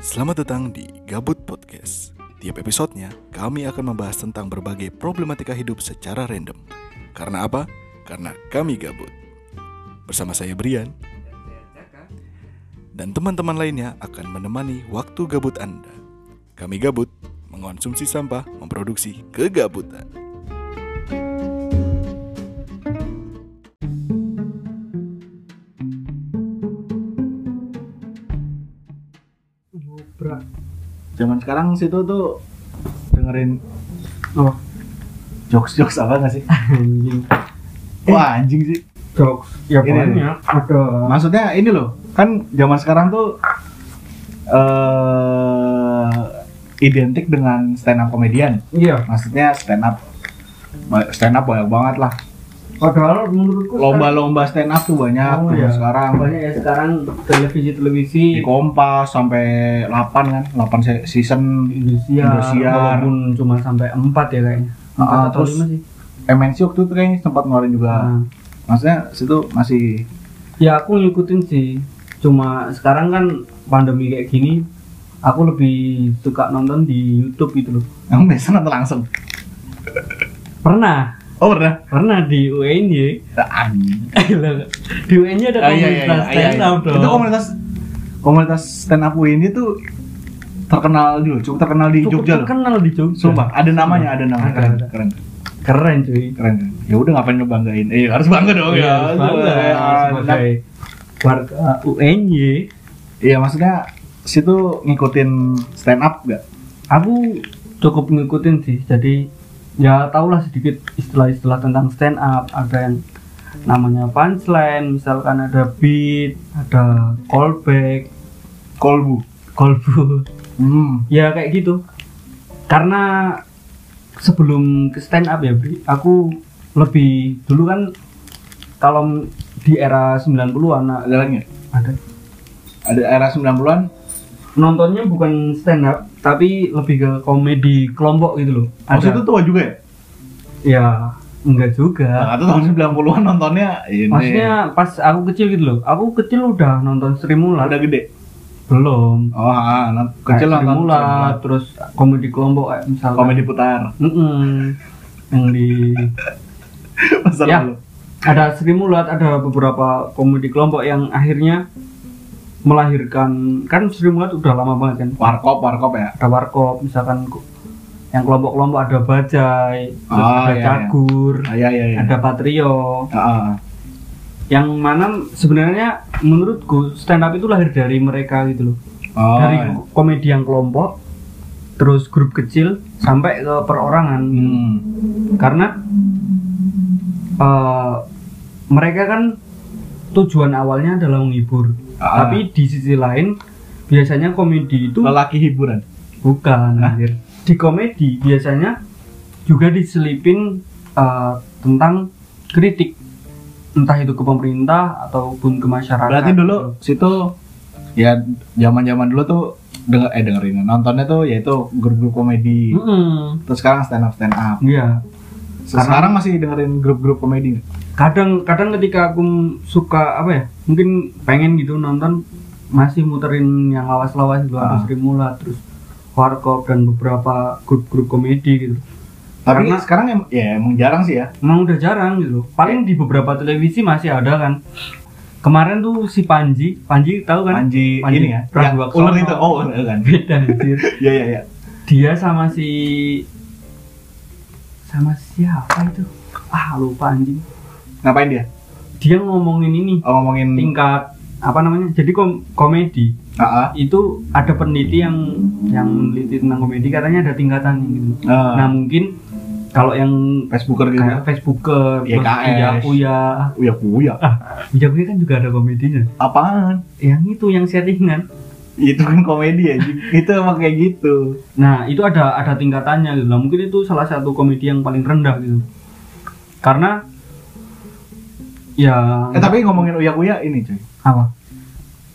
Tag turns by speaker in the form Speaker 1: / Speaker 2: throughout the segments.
Speaker 1: Selamat datang di Gabut Podcast. Tiap episodenya, kami akan membahas tentang berbagai problematika hidup secara random. Karena apa? Karena kami gabut. Bersama saya Brian dan teman-teman lainnya akan menemani waktu gabut Anda. Kami gabut, mengonsumsi sampah, memproduksi kegabutan.
Speaker 2: Ngobrak.
Speaker 3: zaman sekarang situ tuh dengerin
Speaker 2: Oh,
Speaker 3: jokes jokes apa nggak sih
Speaker 2: anjing.
Speaker 3: wah anjing sih
Speaker 2: Jokes. Ya
Speaker 3: Ini
Speaker 2: banyak. Ada.
Speaker 3: maksudnya ini loh kan zaman sekarang tuh eh identik dengan stand up komedian
Speaker 2: Iya.
Speaker 3: maksudnya stand up Ba- stand up banyak banget lah
Speaker 2: Padahal menurutku
Speaker 3: lomba-lomba stand up tuh banyak
Speaker 2: Oh,
Speaker 3: zaman
Speaker 2: iya.
Speaker 3: sekarang
Speaker 2: sekarang- banyak ya sekarang televisi televisi
Speaker 3: di kompas sampai 8 kan 8 se- season Indosiar.
Speaker 2: walaupun cuma sampai empat ya kayaknya. Empat
Speaker 3: Ah,
Speaker 2: atau
Speaker 3: terus-
Speaker 2: lima sih.
Speaker 3: MNC waktu itu kayaknya sempat ngeluarin juga
Speaker 2: Ah.
Speaker 3: maksudnya situ masih
Speaker 2: Ya aku ngikutin sih. Cuma sekarang kan pandemi kayak gini, aku lebih suka nonton di YouTube gitu loh.
Speaker 3: yang biasa nonton langsung
Speaker 2: Pernah,
Speaker 3: oh pernah
Speaker 2: pernah di UNY.
Speaker 3: Ah, anjing.
Speaker 2: ya. di UNY ada
Speaker 3: Ah, iya, iya,
Speaker 2: komunitas
Speaker 3: iya, iya.
Speaker 2: stand up dong.
Speaker 3: Itu komunitas komunitas stand up ini tuh terkenal dulu, cukup terkenal di
Speaker 2: Cukup
Speaker 3: Jogja loh.
Speaker 2: terkenal di Jogja.
Speaker 3: Sumpah, ada namanya, ada namanya.
Speaker 2: Iya. Ada,
Speaker 3: Keren,
Speaker 2: ada.
Speaker 3: keren,
Speaker 2: Keren cuy.
Speaker 3: keren. Ya udah ngapain ngebanggain? Eh, harus bangga dong
Speaker 2: Iya,
Speaker 3: ya.
Speaker 2: bangga
Speaker 3: Ya,
Speaker 2: sebagai warga uh, UNY.
Speaker 3: Iya, maksudnya situ ngikutin stand up gak?
Speaker 2: Aku cukup ngikutin sih. Jadi ya tahulah sedikit istilah-istilah tentang stand up. Ada yang namanya punchline, misalkan ada beat, ada callback,
Speaker 3: Kolbu.
Speaker 2: callback.
Speaker 3: Hmm.
Speaker 2: ya kayak gitu. Karena sebelum ke stand up ya, Bri, aku lebih dulu kan kalau di era 90-an nah,
Speaker 3: Ada lagi nggak?
Speaker 2: ada
Speaker 3: Ada era 90-an?
Speaker 2: nontonnya bukan stand up tapi lebih ke komedi kelompok gitu loh
Speaker 3: Maksud itu tua juga ya?
Speaker 2: ya enggak juga
Speaker 3: Nah, itu tahun 90-an nontonnya
Speaker 2: Iya.
Speaker 3: ini.
Speaker 2: maksudnya pas aku kecil gitu loh aku kecil udah nonton Sri Mulat
Speaker 3: udah gede.
Speaker 2: belum
Speaker 3: Oh, ah, non- kecil
Speaker 2: Kayak Sri
Speaker 3: nonton.
Speaker 2: Mulat, terus komedi kelompok kayak misalnya
Speaker 3: Komedi putar.
Speaker 2: yang di
Speaker 3: Masa
Speaker 2: Ya.
Speaker 3: lalu.
Speaker 2: ada Sri Mulat ada beberapa komedi kelompok yang akhirnya melahirkan kan Sri Mulat udah lama banget kan
Speaker 3: Warkop, warkop ya.
Speaker 2: ada warkop misalkan ku- yang kelompok-kelompok ada bajai terus ada
Speaker 3: Ah, iya, iya.
Speaker 2: cagur
Speaker 3: Ah, iya, iya, iya.
Speaker 2: ada patrio
Speaker 3: Ah,
Speaker 2: yang mana sebenarnya menurutku stand up itu lahir dari mereka gitu loh
Speaker 3: Oh,
Speaker 2: dari
Speaker 3: iya.
Speaker 2: komedi yang kelompok terus grup kecil sampai ke perorangan
Speaker 3: Hmm.
Speaker 2: karena eh, mereka kan tujuan awalnya adalah menghibur
Speaker 3: Ah.
Speaker 2: tapi di sisi lain biasanya komedi itu
Speaker 3: Lelaki hiburan.
Speaker 2: Bukan,
Speaker 3: Nah.
Speaker 2: anjir. Di komedi biasanya juga diselipin eh, tentang kritik entah itu ke pemerintah ataupun ke masyarakat.
Speaker 3: Berarti dulu situ ya zaman-zaman dulu tuh denger eh dengerin nontonnya tuh yaitu grup-grup komedi.
Speaker 2: Mm-mm.
Speaker 3: Terus sekarang stand up stand up.
Speaker 2: Iya. Hmm. Karena-
Speaker 3: Sekarang masih dengerin grup-grup komedi nggak?
Speaker 2: Kadang kadang ketika aku suka apa ya? Mungkin pengen gitu nonton masih muterin yang lawas-lawas gitu atau
Speaker 3: Ah.
Speaker 2: Sri Mulat, terus Warkop dan beberapa grup-grup komedi gitu.
Speaker 3: Tapi
Speaker 2: Karena-
Speaker 3: sekarang em ya emang jarang sih ya.
Speaker 2: Emang udah jarang gitu. Paling di beberapa televisi masih ada kan. Kemarin tuh si Panji, Panji tahu kan?
Speaker 3: Panji,
Speaker 2: Panji
Speaker 3: ini ya. Yang
Speaker 2: Pragiwaksono.
Speaker 3: ular itu. Oh, ular kan.
Speaker 2: beda anjir.
Speaker 3: Iya iya iya.
Speaker 2: dia sama si sama siapa itu ah lupa anjing
Speaker 3: Ngapain dia?
Speaker 2: dia ngomongin ini
Speaker 3: Oh, ngomongin ah,
Speaker 2: tingkat apa namanya jadi kom- komedi
Speaker 3: Heeh.
Speaker 2: itu ada peneliti yang yang meneliti tentang komedi katanya ada tingkatannya gitu
Speaker 3: Ah.
Speaker 2: nah mungkin kalau yang
Speaker 3: Facebooker gitu. Iya,
Speaker 2: kayak Facebooker terus
Speaker 3: YKS.
Speaker 2: Uyakuya
Speaker 3: Uya kuya.
Speaker 2: ah Uyakuya kan juga ada komedinya
Speaker 3: Apaan?
Speaker 2: yang itu yang settingan
Speaker 3: Itu kan komedi ya. itu emang kayak gitu.
Speaker 2: Nah, itu ada ada tingkatannya gitu. Nah, mungkin itu salah satu komedi yang paling rendah gitu. Karena ya
Speaker 3: Eh, tapi ngomongin Uya kuya ini cuy.
Speaker 2: apa?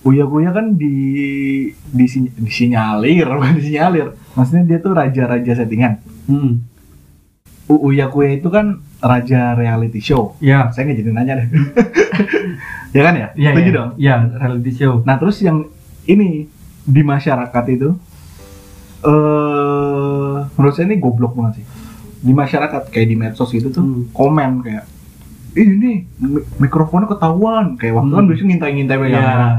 Speaker 3: Uya-Uya kan di, di disinyalir, bukan disinyalir. Maksudnya dia tuh raja-raja settingan.
Speaker 2: Hmm.
Speaker 3: U- Uya-Uya itu kan raja reality show.
Speaker 2: Ya.
Speaker 3: Saya nggak jadi nanya deh. ya kan ya?
Speaker 2: Ya,
Speaker 3: Setuju
Speaker 2: ya.
Speaker 3: dong.
Speaker 2: Ya, reality show.
Speaker 3: Nah terus yang Nah, ini di masyarakat itu eh menurut saya ini goblok banget sih di masyarakat kayak di medsos gitu tuh
Speaker 2: Hmm.
Speaker 3: komen kayak "Ih, ini mi- mikrofonnya ketahuan kayak waktu kan
Speaker 2: Hmm.
Speaker 3: biasanya ngintai-ngintai megang
Speaker 2: Iya.
Speaker 3: kamera.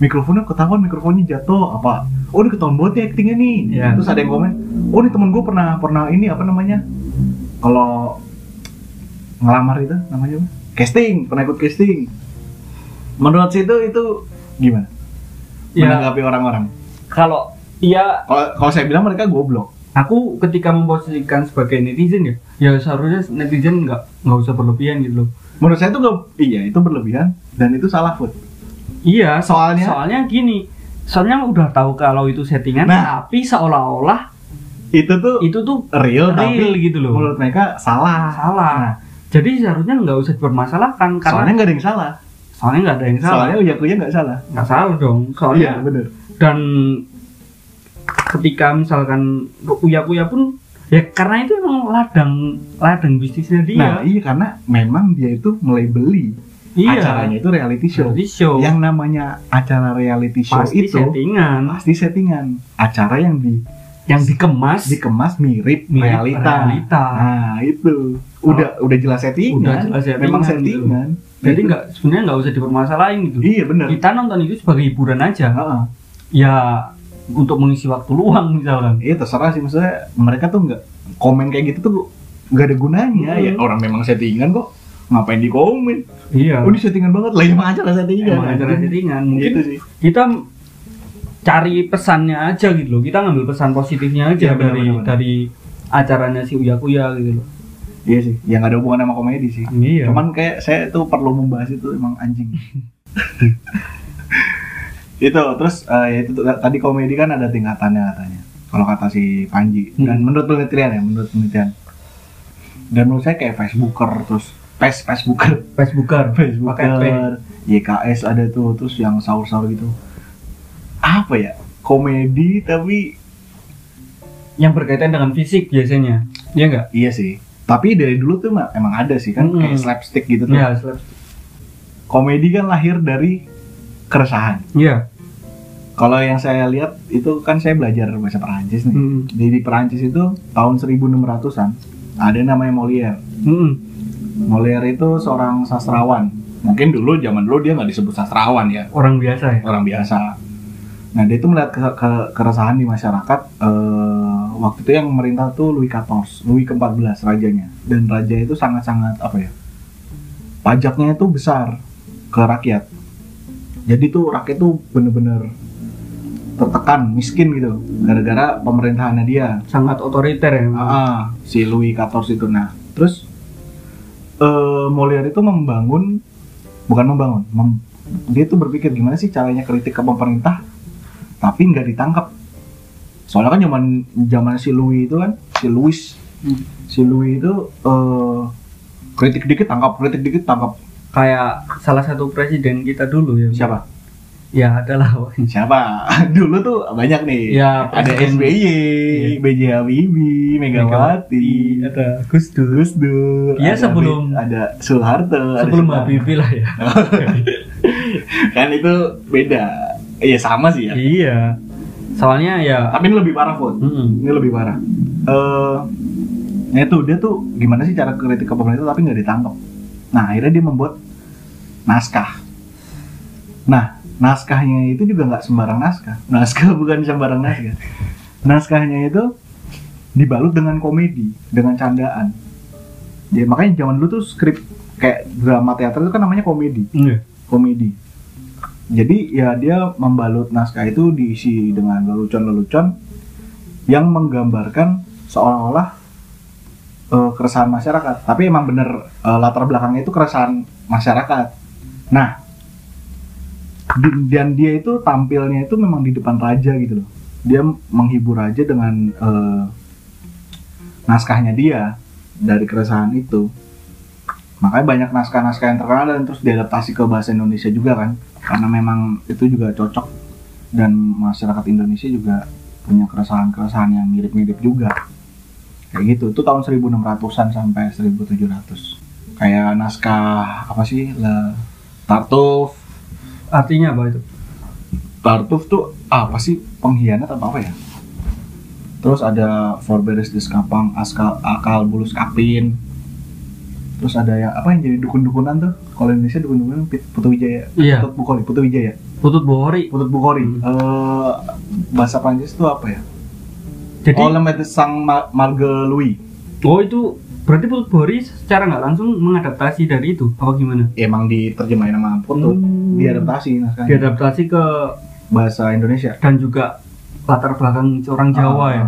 Speaker 3: mikrofonnya ketahuan mikrofonnya jatuh apa oh ini ketahuan banget nih actingnya nih
Speaker 2: Iya.
Speaker 3: terus ada yang komen oh ini temen gue pernah pernah ini apa namanya kalau ngelamar itu namanya apa? casting pernah ikut casting menurut situ itu gimana
Speaker 2: ya
Speaker 3: menanggapi orang-orang
Speaker 2: kalau iya
Speaker 3: kalau kalau saya bilang mereka goblok
Speaker 2: aku ketika memposisikan sebagai netizen ya ya seharusnya netizen nggak nggak usah berlebihan gitu loh
Speaker 3: menurut saya itu gak, iya itu berlebihan dan itu salah food
Speaker 2: iya so-
Speaker 3: Soalnya?
Speaker 2: soalnya gini soalnya udah tahu kalau itu settingan
Speaker 3: Nah.
Speaker 2: tapi seolah-olah
Speaker 3: itu tuh
Speaker 2: itu tuh
Speaker 3: real,
Speaker 2: Iya.
Speaker 3: tapi
Speaker 2: real gitu loh
Speaker 3: menurut mereka salah
Speaker 2: Salah.
Speaker 3: Nah,
Speaker 2: jadi seharusnya nggak usah dipermasalahkan
Speaker 3: soalnya
Speaker 2: karena
Speaker 3: nggak ada yang salah
Speaker 2: soalnya nggak ada yang salah Oh,
Speaker 3: soalnya uyakuya nggak salah
Speaker 2: nggak salah dong soalnya
Speaker 3: iya bener
Speaker 2: dan ketika misalkan uya kuya pun ya karena itu emang ladang ladang bisnisnya dia
Speaker 3: nah iya karena memang dia itu melebeli
Speaker 2: iya
Speaker 3: acaranya itu reality show
Speaker 2: Jadi show
Speaker 3: yang namanya acara reality show
Speaker 2: pasti
Speaker 3: itu
Speaker 2: settingan
Speaker 3: pasti settingan acara yang di-
Speaker 2: yang dikemas
Speaker 3: dikemas mirip,
Speaker 2: mirip
Speaker 3: realita.
Speaker 2: realita. Oh.
Speaker 3: nah itu udah udah jelas settingan
Speaker 2: Udah jelas settingan. gitu.
Speaker 3: memang settingan
Speaker 2: jadi
Speaker 3: Itu-
Speaker 2: nggak sebenarnya nggak usah dipermasalahin gitu
Speaker 3: iya bener
Speaker 2: kita nonton itu sebagai hiburan aja
Speaker 3: Heeh.
Speaker 2: ya untuk mengisi waktu luang misalkan
Speaker 3: Iya terserah sih maksudnya mereka tuh nggak komen kayak gitu tuh nggak ada gunanya
Speaker 2: Hmm.
Speaker 3: ya orang memang settingan kok ngapain di komen?
Speaker 2: iya
Speaker 3: Oh ini settingan banget lah emang acara settingan.
Speaker 2: emang acara settingan mungkin
Speaker 3: Gitu sih.
Speaker 2: kita cari pesannya aja gitu loh kita ngambil pesan positifnya aja
Speaker 3: Iya, benar,
Speaker 2: dari
Speaker 3: benar, benar.
Speaker 2: dari acaranya si Uya Kuya gitu loh
Speaker 3: Iya sih. Yang nggak ada hubungan sama komedi sih.
Speaker 2: iya
Speaker 3: Cuman kayak saya tuh perlu membahas itu emang anjing. itu terus eh, ya itu tuh, tadi komedi kan ada tingkatannya katanya. Kalau kata si Panji dan
Speaker 2: Hmm.
Speaker 3: menurut penelitian ya menurut penelitian. Dan menurut saya kayak Facebooker terus pes Facebooker
Speaker 2: Facebooker pakai P
Speaker 3: Facebooker, YKS ada tuh, terus yang sahur-sahur gitu. Apa ya? Komedi tapi
Speaker 2: yang berkaitan dengan fisik biasanya iya nggak
Speaker 3: iya sih. Tapi dari dulu tuh emang- emang ada sih kan
Speaker 2: Mm-mm.
Speaker 3: kayak slapstick gitu tuh.
Speaker 2: Hmm. iya slap
Speaker 3: Komedi kan lahir dari keresahan.
Speaker 2: iya
Speaker 3: Kalau yang saya lihat itu kan saya belajar bahasa Perancis nih.
Speaker 2: Mm-mm.
Speaker 3: Di, di Perancis itu tahun 1600-an ada namanya Molière.
Speaker 2: Mm-mm.
Speaker 3: Molière itu seorang sastrawan. Mungkin dulu zaman dulu dia nggak disebut sastrawan ya.
Speaker 2: orang biasa ya
Speaker 3: orang biasa. Nah dia itu melihat ke- ke- keresahan di masyarakat eh, waktu itu yang merintah tuh Louis XIV, Louis ke-14 rajanya. Dan raja itu sangat-sangat apa ya? Pajaknya itu besar ke rakyat. Jadi tuh rakyat tuh bener-bener tertekan, miskin gitu gara-gara pemerintahannya dia.
Speaker 2: sangat otoriter ya
Speaker 3: Ah, ah, si Louis XIV itu nah. Terus eh Molière itu membangun bukan membangun, mem- dia tuh berpikir gimana sih caranya kritik ke pemerintah tapi nggak ditangkap. Soalnya kan zaman zaman si Louis itu kan, si Louis
Speaker 2: Hmm.
Speaker 3: si Louis itu eh kritik dikit tangkap, kritik dikit tangkap.
Speaker 2: kayak salah satu presiden kita dulu ya
Speaker 3: Siapa?
Speaker 2: ya adalah
Speaker 3: Siapa? Dulu tuh banyak nih.
Speaker 2: Ya,
Speaker 3: ada
Speaker 2: presiden.
Speaker 3: SBY,
Speaker 2: Iya.
Speaker 3: BJ Habibie, Megawati,
Speaker 2: ada Gus Dur
Speaker 3: Gus Dur.
Speaker 2: Iya,
Speaker 3: ada
Speaker 2: sebelum-
Speaker 3: Be- ada Soeharto. ada Oh,
Speaker 2: sebelum
Speaker 3: Soekarno.
Speaker 2: Habibie lah ya
Speaker 3: Kan itu beda. Iya sama sih ya.
Speaker 2: iya soalnya ya
Speaker 3: Tapi ini lebih parah Fon.
Speaker 2: Mm-mm.
Speaker 3: Ini lebih parah. Eh, nah itu dia tuh gimana sih cara kritik ke pemerintah tapi nggak ditangkap. Nah akhirnya dia membuat naskah. Nah naskahnya itu juga nggak sembarang naskah. Naskah bukan sembarang naskah. Naskahnya itu dibalut dengan komedi, dengan candaan. Jadi makanya zaman dulu tuh skrip kayak drama teater itu kan namanya komedi
Speaker 2: Iya.
Speaker 3: komedi. Jadi ya dia membalut naskah itu diisi dengan lelucon-lelucon yang menggambarkan seolah-olah eh, keresahan masyarakat. Tapi emang bener eh, latar belakangnya itu keresahan masyarakat. Nah, di- dan dia itu tampilnya itu memang di depan raja gitu loh. Dia menghibur raja dengan eh, naskahnya dia dari keresahan itu makanya banyak naskah-naskah yang terkenal dan terus diadaptasi ke bahasa Indonesia juga kan karena memang itu juga cocok dan masyarakat Indonesia juga punya keresahan-keresahan yang mirip-mirip juga kayak gitu itu tahun 1600-an sampai 1700 kayak naskah apa sih Le Tartuffe
Speaker 2: artinya apa itu
Speaker 3: Tartuf tuh apa sih pengkhianat apa apa ya? Terus ada Forberes Diskapang, Askal Akal Bulus Kapin. Terus ada yang apa yang jadi dukun-dukunan tuh? Kalau Indonesia dukun-dukunan Pit- Putu Wijaya.
Speaker 2: Iya.
Speaker 3: Putut Bukori, Putu Wijaya.
Speaker 2: Putut Bohori.
Speaker 3: Putut Bukori.
Speaker 2: Hmm.
Speaker 3: Eh, bahasa Prancis tuh apa ya?
Speaker 2: Jadi
Speaker 3: Oleh Maitre Sang Ma- Margelui.
Speaker 2: oh itu berarti Putut Bohori secara nggak langsung mengadaptasi dari itu apa gimana?
Speaker 3: Ya, Emang diterjemahin sama Putut,
Speaker 2: Hmm.
Speaker 3: diadaptasi naskahnya.
Speaker 2: diadaptasi ke
Speaker 3: bahasa Indonesia.
Speaker 2: dan juga latar belakang orang Jawa
Speaker 3: Ah,
Speaker 2: ya.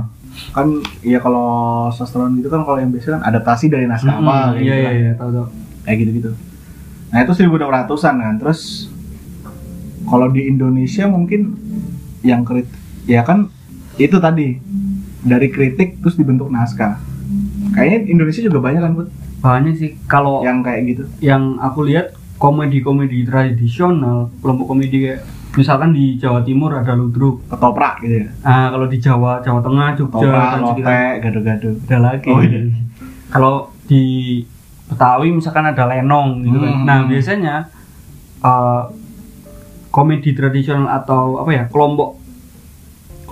Speaker 3: Kan ya kalau sastrawan gitu kan kalau yang biasa kan adaptasi dari naskah
Speaker 2: Mm-mm,
Speaker 3: apa
Speaker 2: Iya
Speaker 3: kayak gitu
Speaker 2: iya
Speaker 3: kan.
Speaker 2: iya tahu tahu.
Speaker 3: Kayak gitu-gitu. Nah, itu 1600-an kan. Terus kalau di Indonesia mungkin yang kritik ya kan itu tadi dari kritik terus dibentuk naskah. Kayaknya Indonesia juga banyak kan, Bud,
Speaker 2: Bahannya sih kalau
Speaker 3: yang kayak gitu.
Speaker 2: yang aku lihat komedi-komedi tradisional, kelompok komedi kayak misalkan di Jawa Timur ada Ludruk,
Speaker 3: Ketoprak gitu ya.
Speaker 2: ah kalau di Jawa, Jawa Tengah, Jogja,
Speaker 3: Ketoprak,
Speaker 2: dan
Speaker 3: lote,
Speaker 2: sekitar-
Speaker 3: gado-gado.
Speaker 2: ada lagi.
Speaker 3: Oh, iya.
Speaker 2: Kalau di Betawi misalkan ada lenong gitu kan.
Speaker 3: Hmm.
Speaker 2: Nah, biasanya eh, komedi tradisional atau apa ya, kelompok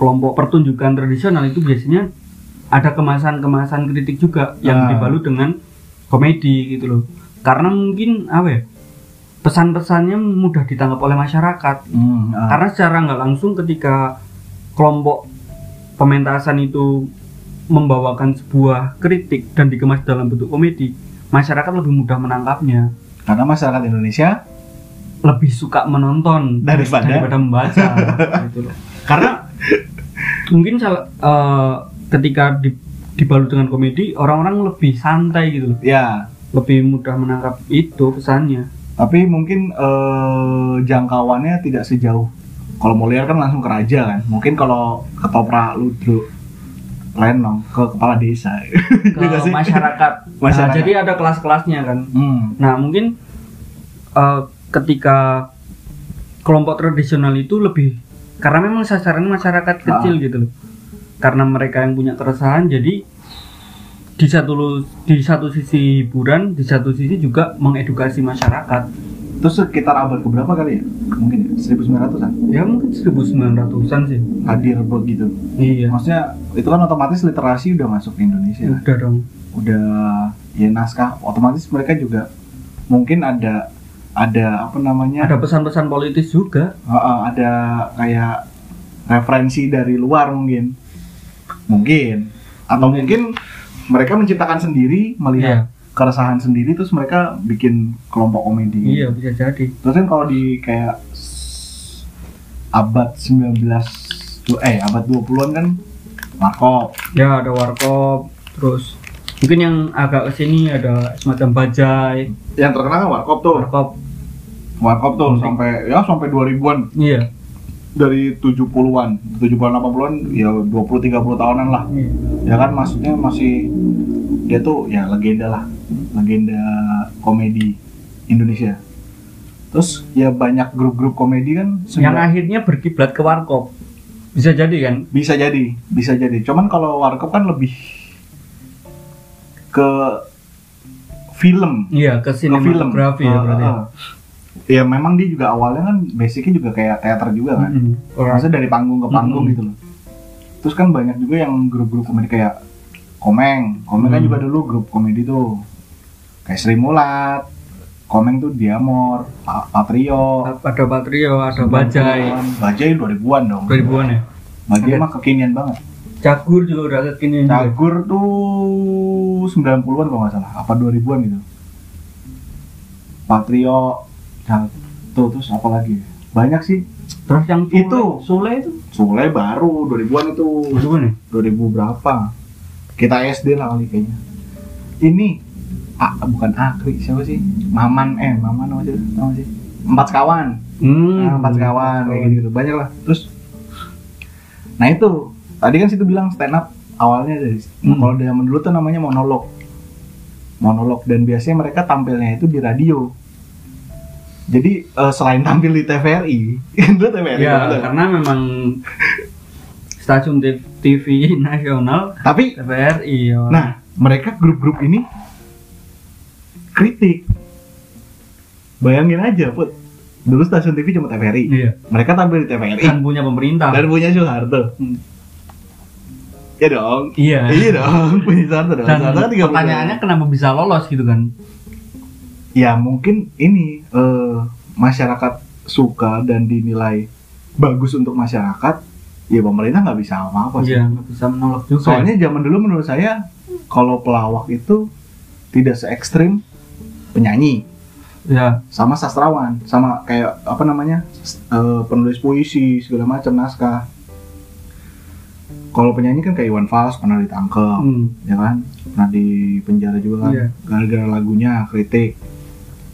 Speaker 2: kelompok pertunjukan tradisional itu biasanya ada kemasan-kemasan kritik juga yang
Speaker 3: Ah.
Speaker 2: dibalut dengan komedi gitu loh. Karena mungkin apa ya? Pesan-pesannya mudah ditangkap oleh masyarakat
Speaker 3: Hmm, ah.
Speaker 2: karena secara nggak langsung ketika kelompok pementasan itu membawakan sebuah kritik dan dikemas dalam bentuk komedi masyarakat lebih mudah menangkapnya
Speaker 3: karena masyarakat Indonesia
Speaker 2: lebih suka menonton
Speaker 3: Daripada-
Speaker 2: membaca gitu loh. karena mungkin salah eh, ketika di- dibalut dengan komedi orang-orang lebih santai gitu loh.
Speaker 3: ya
Speaker 2: lebih mudah menangkap itu pesannya
Speaker 3: tapi mungkin eh, jangkauannya tidak sejauh kalau Molière kan langsung ke raja kan mungkin kalau ketoprak ludruk lenong ke kepala desa
Speaker 2: ke
Speaker 3: Iya nggak sih?
Speaker 2: masyarakat. Nah,
Speaker 3: Masyarakat.
Speaker 2: jadi ada kelas-kelasnya kan
Speaker 3: hmm.
Speaker 2: Nah, mungkin eh, ketika kelompok tradisional itu lebih karena memang sasaran masyarakat kecil gitu loh. Karena mereka yang punya keresahan jadi di satu lu- di satu sisi hiburan, di satu sisi juga mengedukasi masyarakat.
Speaker 3: terus sekitar abad keberapa kali ya mungkin ya 1900an
Speaker 2: Ya mungkin 1900-an sih.
Speaker 3: hadir buat gitu
Speaker 2: Iya.
Speaker 3: maksudnya itu kan otomatis literasi udah masuk ke Indonesia kan?
Speaker 2: Udah dong.
Speaker 3: udah ya naskah otomatis mereka juga mungkin ada ada apa namanya
Speaker 2: Ada pesan-pesan politis juga.
Speaker 3: Heeh, ada kayak referensi dari luar mungkin mungkin atau mungkin Iya. mereka menciptakan sendiri melihat keresahan sendiri terus mereka bikin kelompok komedi
Speaker 2: Iya, bisa jadi.
Speaker 3: terus kan kalau di kayak s- abad 19 tu- eh abad 20-an kan Markop
Speaker 2: Ya ada warkop, terus mungkin yang agak kesini ada semacam bajai,
Speaker 3: yang terkenal kan Warkop tuh
Speaker 2: warkop.
Speaker 3: Warkop
Speaker 2: Penting.
Speaker 3: tuh sampai ya sampai 2000-an
Speaker 2: Iya.
Speaker 3: dari 70-an 70-an 80-an ya 20 30 tahunan lah
Speaker 2: Iya.
Speaker 3: ya kan maksudnya masih dia tuh ya legenda lah legenda komedi Indonesia terus ya banyak grup-grup komedi
Speaker 2: yang
Speaker 3: kan sebenarnya-
Speaker 2: akhirnya berkiblat ke warkop bisa jadi kan
Speaker 3: bisa jadi bisa jadi cuman kalau warkop kan lebih ke film
Speaker 2: iya ke
Speaker 3: ke film
Speaker 2: sinematografi ya
Speaker 3: Ah,
Speaker 2: berarti
Speaker 3: ah. ya memang dia juga awalnya kan basicnya juga kayak teater juga kan
Speaker 2: Mm-mm. Orang-
Speaker 3: Maksudnya dari panggung ke panggung
Speaker 2: Mm-mm.
Speaker 3: gitu loh. Terus kan banyak juga yang grup-grup komedi kayak Komeng. Komeng kan
Speaker 2: Hmm.
Speaker 3: juga dulu grup komedi tuh. Kayak Sri Mulat. Komeng tuh Diamor, Pa- Patrio.
Speaker 2: ada patrio ada bajai
Speaker 3: 90-an. Bajai 2000-an dong.
Speaker 2: 2000-an ya
Speaker 3: Bajai
Speaker 2: Ada-
Speaker 3: mah kekinian banget.
Speaker 2: cagur juga udah kekinian juga.
Speaker 3: Cagur tuh 90-an kalau nggak salah, apa 2000-an gitu. Patrio, Cag- tuh terus apa lagi? Banyak sih.
Speaker 2: terus yang Sule-
Speaker 3: Itu.
Speaker 2: sule itu
Speaker 3: Sule baru 2000-an itu.
Speaker 2: 2000-an ya
Speaker 3: 2000 berapa kita SD lah kali kayaknya ini ah, bukan Akri siapa sih Maman eh Maman apa sih nama sih empat sekawan
Speaker 2: hmm.
Speaker 3: Nah, empat sekawan kayak gitu banyak lah terus nah itu tadi kan situ bilang stand up awalnya dari
Speaker 2: Hmm.
Speaker 3: kalau zaman dulu tuh namanya monolog monolog dan biasanya mereka tampilnya itu di radio jadi eh, selain tampil di TVRI itu TVRI
Speaker 2: ya
Speaker 3: bener.
Speaker 2: karena memang stasiun TV, nasional
Speaker 3: tapi
Speaker 2: TVRI ya.
Speaker 3: Nah, mereka grup-grup ini kritik. Bayangin aja, Put. dulu stasiun TV cuma TVRI
Speaker 2: Iya.
Speaker 3: mereka tampil di TVRI
Speaker 2: Kan punya pemerintah.
Speaker 3: dan punya Soeharto
Speaker 2: Hmm.
Speaker 3: ya dong
Speaker 2: Iya.
Speaker 3: iya dong punya Soeharto dong
Speaker 2: Dan
Speaker 3: Soeharto kan 30
Speaker 2: pertanyaannya kenapa bisa lolos gitu kan?
Speaker 3: ya mungkin ini eh, masyarakat suka dan dinilai bagus untuk masyarakat ya pemerintah nggak bisa apa-apa sih
Speaker 2: Iya, nggak bisa menolak juga.
Speaker 3: soalnya zaman dulu menurut saya kalau pelawak itu tidak se ekstrim penyanyi
Speaker 2: ya,
Speaker 3: sama sastrawan sama kayak apa namanya s- eh, penulis puisi segala macam naskah kalau penyanyi kan kayak Iwan Fals pernah ditangkep
Speaker 2: hmm,
Speaker 3: ya kan pernah di penjara juga kan
Speaker 2: Iya.
Speaker 3: gara-gara lagunya kritik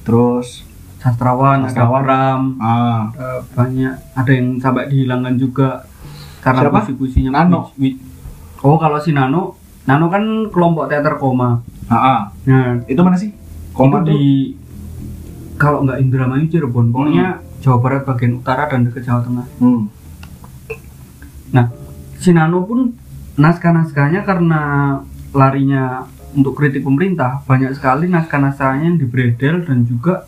Speaker 3: terus
Speaker 2: sastrawan, ada
Speaker 3: Sastrawan.
Speaker 2: Pram,
Speaker 3: ah
Speaker 2: eh, banyak ada yang sampai dihilangkan juga karena
Speaker 3: Siapa?
Speaker 2: puisi-puisinya
Speaker 3: Nano.
Speaker 2: puisi- Oh, kalau si Nano, Nano kan kelompok teater koma.
Speaker 3: ah, ah.
Speaker 2: Nah,
Speaker 3: itu mana sih
Speaker 2: itu
Speaker 3: koma tuh
Speaker 2: di kalau nggak Indramayu Cirebon, pokoknya Jawa Barat bagian utara dan dekat Jawa Tengah.
Speaker 3: hmm.
Speaker 2: Nah, si Nano pun naskah-naskahnya karena larinya untuk kritik pemerintah banyak sekali naskah-naskahnya yang dibredel dan juga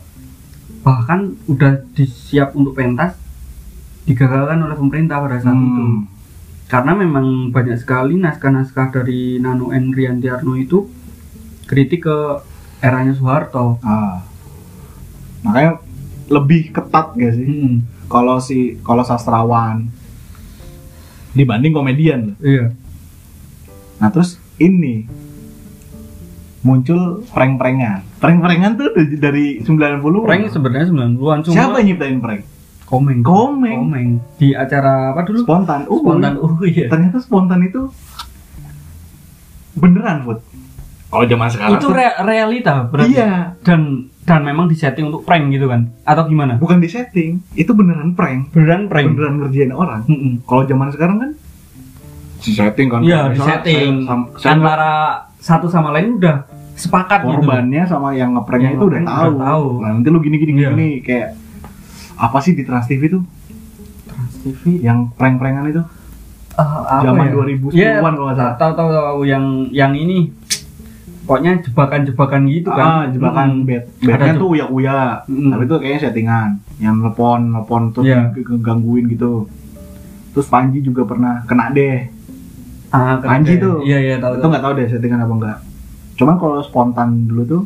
Speaker 2: bahkan udah disiap untuk pentas digagalkan oleh pemerintah pada saat itu
Speaker 3: Hmm.
Speaker 2: karena memang banyak sekali naskah-naskah dari Nano N Riantiarno itu kritik ke eranya Soeharto
Speaker 3: Ah. makanya lebih ketat gak sih kalau si kalau sastrawan dibanding komedian loh.
Speaker 2: iya
Speaker 3: Nah terus ini muncul prank-prankan. Prank-prankan tuh dari- dari 90
Speaker 2: prank sebenarnya 90-an cuma
Speaker 3: Siapa yang nyiptain prank?
Speaker 2: komeng
Speaker 3: Komeng.
Speaker 2: komeng di acara apa dulu
Speaker 3: Spontan. Uh,
Speaker 2: spontan
Speaker 3: boleh.
Speaker 2: oh iya
Speaker 3: Ternyata spontan itu beneran, Food. Kalau zaman sekarang
Speaker 2: itu
Speaker 3: tuh-
Speaker 2: re- realita berarti
Speaker 3: Iya,
Speaker 2: dan dan memang disetting untuk prank gitu kan atau gimana
Speaker 3: bukan di setting. Itu beneran prank.
Speaker 2: beneran prank
Speaker 3: Beneran ngerjain orang.
Speaker 2: Mm-mm.
Speaker 3: Kalau zaman sekarang kan di Kan setting kan.
Speaker 2: iya
Speaker 3: Misalnya
Speaker 2: disetting
Speaker 3: saya- sam- saya-
Speaker 2: antara satu sama lain udah sepakat gitu
Speaker 3: korbannya sama yang ngepranknya
Speaker 2: Yang
Speaker 3: itu udah
Speaker 2: ngeprank
Speaker 3: tahu.
Speaker 2: udah tahu.
Speaker 3: Nah, nanti lu gini gini
Speaker 2: Iya.
Speaker 3: gini kayak apa sih di Trans TV tuh
Speaker 2: Trans TV
Speaker 3: yang prank-prankan itu?
Speaker 2: eh, apa
Speaker 3: ya. Zaman
Speaker 2: ya?
Speaker 3: 2010-an
Speaker 2: Iya,
Speaker 3: kalau nggak salah.
Speaker 2: tahu tahu tahu yang yang ini pokoknya jebakan-jebakan gitu kan
Speaker 3: Ah, jebakan
Speaker 2: Mm.
Speaker 3: bed. Bednya
Speaker 2: tuh.
Speaker 3: tuh uya-uya.
Speaker 2: Mm.
Speaker 3: Tapi itu kayaknya settingan. Yang telepon, telepon terus
Speaker 2: Iya.
Speaker 3: di- ke- gangguin gitu. Terus Panji juga pernah kena deh.
Speaker 2: ah, keren
Speaker 3: Panji
Speaker 2: deh.
Speaker 3: tuh.
Speaker 2: iya iya tahu
Speaker 3: gitu. Itu
Speaker 2: tahu
Speaker 3: nggak tahu deh settingan apa enggak. Cuman kalau spontan dulu tuh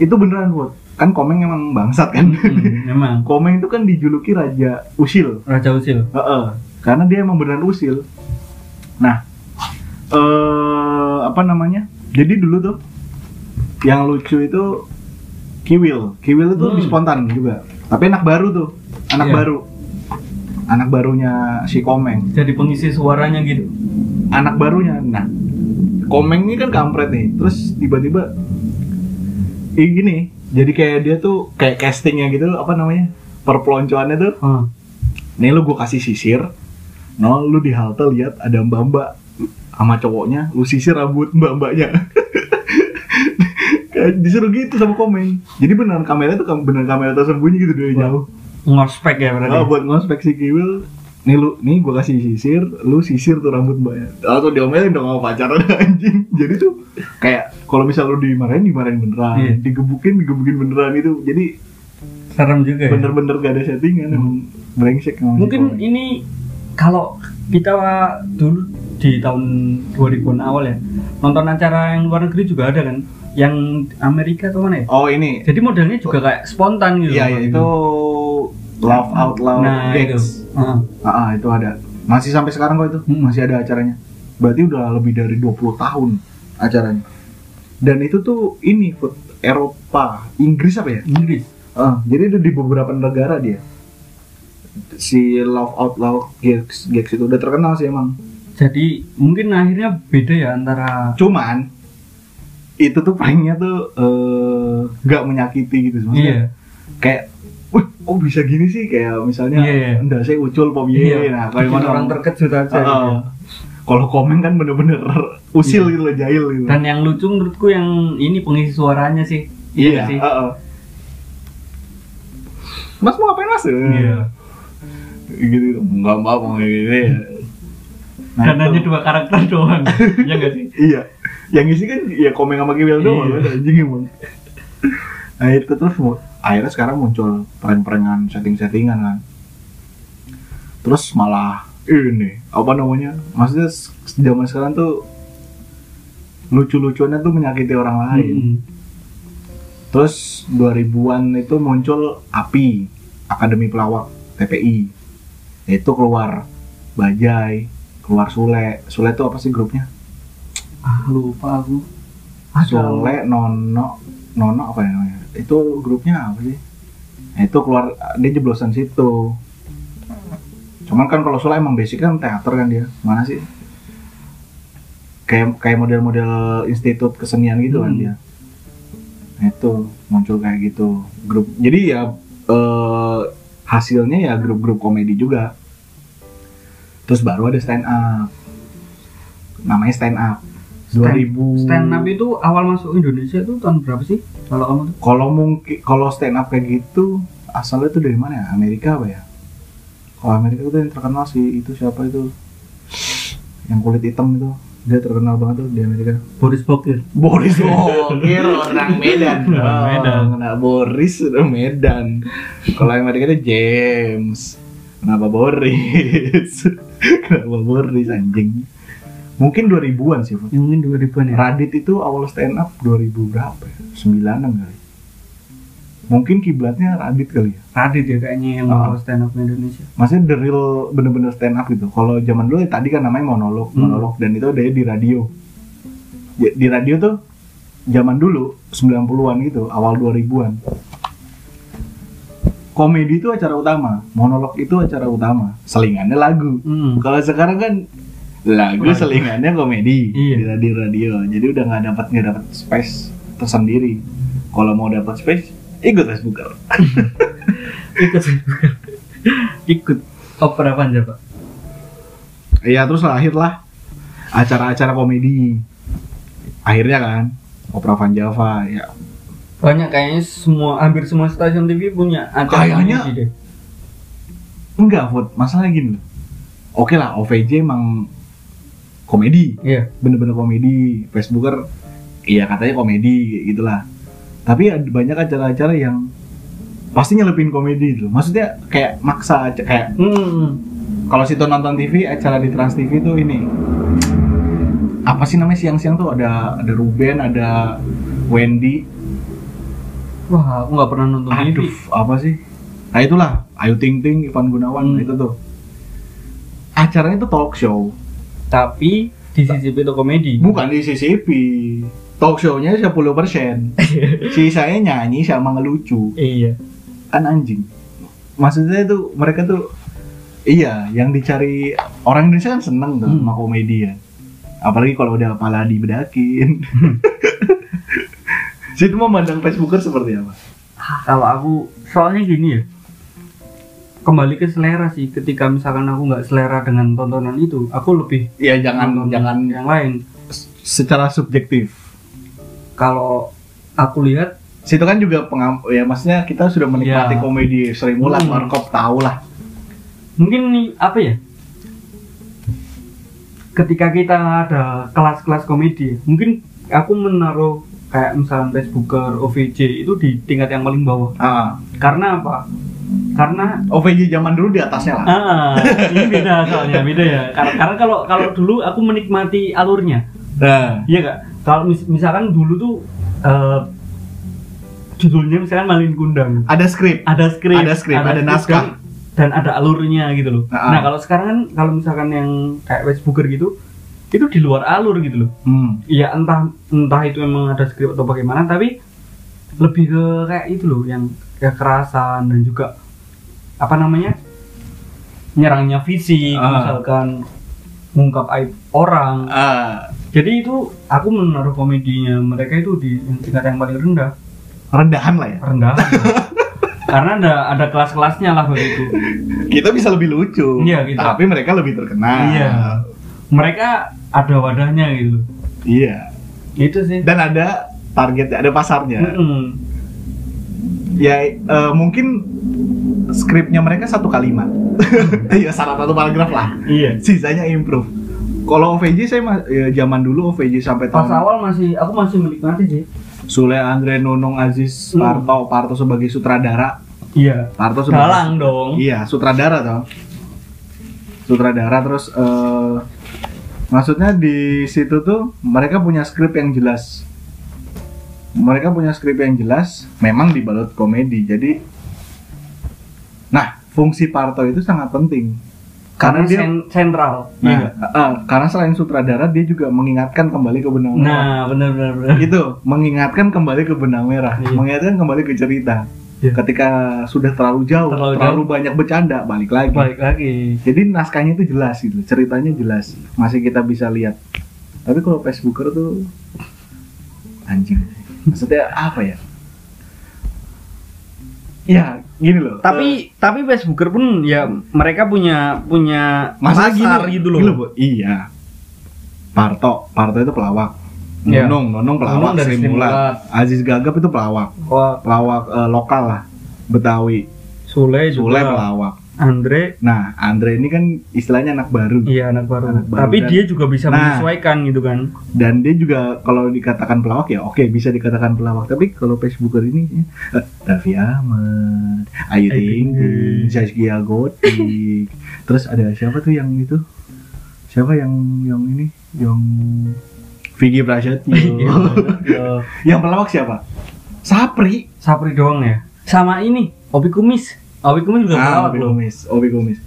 Speaker 3: itu beneran buat kan Komeng emang bangsat kan.
Speaker 2: Mm, memang
Speaker 3: Komeng itu kan dijuluki Raja Usil.
Speaker 2: Raja Usil
Speaker 3: Heeh, karena dia emang beneran usil. Nah, eh apa namanya? Jadi dulu tuh yang lucu itu Kiwil. Kiwil itu
Speaker 2: Hmm.
Speaker 3: lebih spontan juga. Tapi anak baru tuh, anak
Speaker 2: Iya.
Speaker 3: baru. Anak barunya si Komeng.
Speaker 2: jadi pengisi suaranya gitu
Speaker 3: Anak barunya. Nah, Komeng ini kan kampret nih. Terus tiba-tiba eh, gini, jadi kayak dia tuh kayak castingnya gitu apa namanya? Perpeloncoannya tuh
Speaker 2: Ah,
Speaker 3: nih lu gue kasih sisir nah lu di halte lihat ada mbak mbak sama cowoknya lu sisir rambut mbak mbaknya Kayak disuruh gitu sama komen jadi beneran kamera tuh kam- beneran kamera tersembunyi gitu dari jauh
Speaker 2: ngospek ya berarti
Speaker 3: nah, buat ngospek si Kiwil nih lu nih gue kasih sisir lu sisir tuh rambut mbaknya atau diomelin dong sama pacaran anjing jadi tuh kayak kalau misal lu dimarahin dimarahin beneran
Speaker 2: Iya.
Speaker 3: digebukin digebukin beneran itu jadi
Speaker 2: serem juga ya
Speaker 3: bener-bener gak ada settingan emang brengsek emang si
Speaker 2: Hmm. mungkin iya.
Speaker 3: Komeng.
Speaker 2: ini kalau kita dulu di tahun 2000-an awal ya nonton acara yang luar negeri juga ada kan yang Amerika atau mana ya
Speaker 3: oh ini
Speaker 2: jadi modelnya juga kayak spontan gitu
Speaker 3: Iya, ya, itu Love Out Loud
Speaker 2: nah itu
Speaker 3: Gigs.
Speaker 2: Heeh.
Speaker 3: Ah, ah, itu ada. Masih sampai sekarang kok itu,
Speaker 2: Hmm.
Speaker 3: masih ada acaranya. Berarti udah lebih dari 20 tahun acaranya. Dan itu tuh ini Food, Eropa, Inggris apa ya?
Speaker 2: Inggris
Speaker 3: Ah, jadi itu di beberapa negara dia. Si Love Out Loud Gigs, Gigs itu udah terkenal sih emang.
Speaker 2: jadi mungkin akhirnya beda ya antara
Speaker 3: Cuman itu tuh pranknya tuh eh, nggak menyakiti gitu maksudnya.
Speaker 2: iya
Speaker 3: kayak wih kok bisa gini sih kayak misalnya
Speaker 2: Iya, iya.
Speaker 3: enggak saya ucul pom
Speaker 2: iya
Speaker 3: iya nah kalau
Speaker 2: Bikin
Speaker 3: yang
Speaker 2: orang terkejut aja
Speaker 3: Heeh.
Speaker 2: gitu.
Speaker 3: kalau komen kan bener-bener usil gitu loh jahil
Speaker 2: Iya.
Speaker 3: gitu
Speaker 2: dan yang lucu menurutku yang ini pengisi suaranya sih
Speaker 3: iya
Speaker 2: nggak sih
Speaker 3: heeh. mas mau ngapain mas
Speaker 2: Iya.
Speaker 3: gitu nggak mau mau kayak gini Nah,
Speaker 2: dan
Speaker 3: itu.
Speaker 2: hanya dua karakter doang ya nggak sih
Speaker 3: iya yang isi kan ya komen sama Kiwil doang
Speaker 2: Iya.
Speaker 3: anjing emang nah itu terus mau akhirnya sekarang muncul prank-prankan setting-settingan kan terus malah ini apa namanya maksudnya se- zaman sekarang tuh lucu-lucuannya tuh menyakiti orang lain
Speaker 2: Mm-mm.
Speaker 3: Terus 2000-an itu muncul API, Akademi Pelawak TPI. Itu keluar Bajai, keluar Sule. Sule itu apa sih grupnya?
Speaker 2: ah lupa aku ada
Speaker 3: Sule, Nono, Nono apa ya namanya? Itu grupnya apa sih? Nah, itu keluar dia jeblosan situ. Cuman kan kalau Sule emang basic kan teater kan dia. Mana sih? Kayak kayak model-model institut kesenian gitu kan
Speaker 2: Hmm.
Speaker 3: dia. Nah, itu muncul kayak gitu grup. Jadi ya eh, hasilnya ya grup-grup komedi juga. Terus baru ada stand up. Namanya stand up.
Speaker 2: Stand-
Speaker 3: 2000
Speaker 2: stand up itu awal masuk Indonesia itu tahun berapa sih kalau kamu tuh
Speaker 3: kalau mungkin kalau stand up kayak gitu asalnya itu dari mana ya Amerika apa ya kalau Amerika itu yang terkenal si itu siapa itu yang kulit hitam itu dia terkenal banget tuh di Amerika
Speaker 2: Boris Bokir
Speaker 3: Boris Bokir orang Medan
Speaker 2: Orang Medan.
Speaker 3: Oh, nah, Boris orang Medan kalau yang Amerika itu James kenapa Boris kenapa Boris anjing mungkin 2000-an sih Fut.
Speaker 2: yang mungkin 2000-an ya
Speaker 3: Radit itu awal stand up 2000 berapa ya? 96 kali. Mungkin kiblatnya Radit kali ya.
Speaker 2: Radit ya kayaknya yang
Speaker 3: Ah.
Speaker 2: awal stand up Indonesia
Speaker 3: Maksudnya the real bener-bener stand up gitu. Kalau zaman dulu ya tadi kan namanya monolog,
Speaker 2: Hmm.
Speaker 3: monolog dan itu adanya di radio. Ya, di radio tuh zaman dulu 90-an gitu, awal 2000-an. Komedi itu acara utama, monolog itu acara utama, selingannya lagu.
Speaker 2: hmm.
Speaker 3: Kalau sekarang kan lagu
Speaker 2: Lagu.
Speaker 3: selingannya komedi
Speaker 2: Iya.
Speaker 3: di radio radio. Jadi udah nggak dapat nggak dapat space tersendiri. Kalau mau dapat space, ikut Facebooker.
Speaker 2: ikut ikut top berapa aja pak
Speaker 3: Iya, terus lahirlah acara-acara komedi. Akhirnya kan Opera Van Java ya.
Speaker 2: banyak kayaknya semua hampir semua stasiun TV punya acara
Speaker 3: Kayaknya.
Speaker 2: komedi deh.
Speaker 3: Enggak, Food. Masalahnya gini loh. Oke lah, OVJ emang komedi,
Speaker 2: iya
Speaker 3: bener-bener komedi. Facebooker iya katanya komedi gitulah. Tapi ada banyak acara-acara yang pasti nyelepin komedi itu. Maksudnya kayak maksa aja- kayak
Speaker 2: hmm.
Speaker 3: kalau situ nonton TV acara di Trans TV tuh ini apa sih namanya siang-siang tuh ada ada Ruben, ada Wendy.
Speaker 2: wah aku nggak pernah nonton
Speaker 3: Aduh,
Speaker 2: TV
Speaker 3: apa sih? Nah itulah Ayu Ting Ting, Ivan Gunawan
Speaker 2: Hmm.
Speaker 3: itu tuh. Acaranya itu talk show.
Speaker 2: tapi di sisi itu komedi
Speaker 3: Bukan di CCP. Talk show-nya 10%. Sisanya nyanyi sama ngelucu.
Speaker 2: iya
Speaker 3: Kan anjing. Maksudnya itu mereka tuh iya, yang dicari orang Indonesia kan seneng tuh
Speaker 2: Hmm.
Speaker 3: sama komedi ya. Apalagi kalau udah pala dibedakin. Situ memandang Facebooker seperti apa?
Speaker 2: kalau aku soalnya gini ya kembali ke selera sih ketika misalkan aku nggak selera dengan tontonan itu aku lebih
Speaker 3: Ya jangan
Speaker 2: nonton
Speaker 3: jangan
Speaker 2: yang lain
Speaker 3: secara subjektif.
Speaker 2: kalau aku lihat
Speaker 3: Situ kan juga pengam ya maksudnya kita sudah menikmati
Speaker 2: Iya.
Speaker 3: komedi Sri Mulat,
Speaker 2: Hmm.
Speaker 3: Markop tahu lah.
Speaker 2: mungkin nih apa ya ketika kita ada kelas-kelas komedi ya, mungkin aku menaruh kayak misalnya Facebooker, OVJ itu di tingkat yang paling bawah
Speaker 3: Ah,
Speaker 2: karena apa? karena
Speaker 3: OVJ zaman dulu di atasnya lah.
Speaker 2: ah, ini beda soalnya beda ya karena, karena kalau kalau dulu aku menikmati alurnya
Speaker 3: Nah,
Speaker 2: Iya kak. Kalau mis- misalkan dulu tuh eh, judulnya misalkan Malin Kundang,
Speaker 3: ada skrip
Speaker 2: ada skrip,
Speaker 3: Ada skrip, ada
Speaker 2: skrip
Speaker 3: naskah.
Speaker 2: dan- dan, ada alurnya gitu loh.
Speaker 3: Ah, ah.
Speaker 2: Nah kalau sekarang kan kalau misalkan yang kayak Facebooker gitu, itu di luar alur gitu loh.
Speaker 3: hmm.
Speaker 2: Iya entah entah itu memang ada skrip atau bagaimana, tapi lebih ke kayak itu loh yang kekerasan dan juga apa namanya nyerangnya fisik
Speaker 3: Ah.
Speaker 2: misalkan mengungkap aib orang
Speaker 3: Eh,
Speaker 2: jadi itu aku menaruh komedinya mereka itu di tingkat yang paling rendah,
Speaker 3: rendahan lah ya
Speaker 2: rendah. Karena ada ada kelas-kelasnya lah begitu.
Speaker 3: kita bisa lebih lucu
Speaker 2: Iya, gitu.
Speaker 3: tapi mereka lebih terkenal
Speaker 2: Iya. Mereka ada wadahnya gitu.
Speaker 3: Iya.
Speaker 2: Itu sih.
Speaker 3: dan ada target ada pasarnya
Speaker 2: Mm-mm.
Speaker 3: ya eh, mungkin skripnya mereka satu kalimat ya salah satu paragraf lah
Speaker 2: Iya.
Speaker 3: sisanya improve kalau OVJ saya ma- ya, zaman dulu OVJ sampai
Speaker 2: Pas
Speaker 3: tahun
Speaker 2: awal masih aku masih menikmati sih.
Speaker 3: Sule Andre Nunung Aziz
Speaker 2: Hmm.
Speaker 3: Parto Parto sebagai sutradara
Speaker 2: Iya.
Speaker 3: Parto sebagai
Speaker 2: Dalang dong.
Speaker 3: Iya, sutradara toh. Sutradara terus eh maksudnya di situ tuh mereka punya skrip yang jelas. Mereka punya skrip yang jelas, memang dibalut komedi. Jadi nah, fungsi Parto itu sangat penting.
Speaker 2: Karena Iya.
Speaker 3: Karena dia
Speaker 2: sen- sentral.
Speaker 3: Nah, eh, karena selain sutradara dia juga mengingatkan kembali ke benang
Speaker 2: Nah,
Speaker 3: merah.
Speaker 2: benar benar benar.
Speaker 3: Itu, mengingatkan kembali ke benang merah,
Speaker 2: Iya.
Speaker 3: mengingatkan kembali ke cerita.
Speaker 2: Iya.
Speaker 3: Ketika sudah terlalu jauh,
Speaker 2: Terlalu
Speaker 3: terlalu, banyak bercanda, balik lagi.
Speaker 2: Balik lagi.
Speaker 3: Jadi naskahnya itu jelas gitu, ceritanya jelas, masih kita bisa lihat. Tapi kalau Facebooker tuh anjing. Maksudnya apa ya? Ya, gini loh.
Speaker 2: Tapi tapi Facebooker pun ya mereka punya punya
Speaker 3: masa
Speaker 2: pasar gitu loh.
Speaker 3: iya. Parto, Parto itu pelawak.
Speaker 2: Iya.
Speaker 3: Nonong, Nonong pelawak
Speaker 2: Nonong dari Sri
Speaker 3: dari
Speaker 2: Mulat.
Speaker 3: Aziz Gagap itu pelawak,
Speaker 2: Wah,
Speaker 3: pelawak eh, lokal lah, Betawi.
Speaker 2: Sule
Speaker 3: Sule
Speaker 2: juga.
Speaker 3: pelawak.
Speaker 2: Andre
Speaker 3: Nah, Andre ini kan istilahnya anak baru.
Speaker 2: Iya anak baru.
Speaker 3: Anak baru
Speaker 2: Tapi
Speaker 3: dan-
Speaker 2: dia juga bisa
Speaker 3: Nah.
Speaker 2: menyesuaikan gitu kan.
Speaker 3: dan dia juga kalau dikatakan pelawak ya oke bisa dikatakan pelawak tapi kalau Facebooker ini eh, Raffi Ahmad
Speaker 2: Ayu
Speaker 3: Ayu
Speaker 2: Ting
Speaker 3: Ting Ting Zaskia Gotik terus ada siapa tuh yang itu siapa yang yang ini yang Vicky
Speaker 2: Iya.
Speaker 3: Prasetyo yang pelawak siapa Sapri
Speaker 2: Sapri doang ya. Sama ini, Obi Kumis. Obi Kumis juga
Speaker 3: ah,
Speaker 2: pelawak
Speaker 3: Obi
Speaker 2: loh.
Speaker 3: Gomis Obi Gomis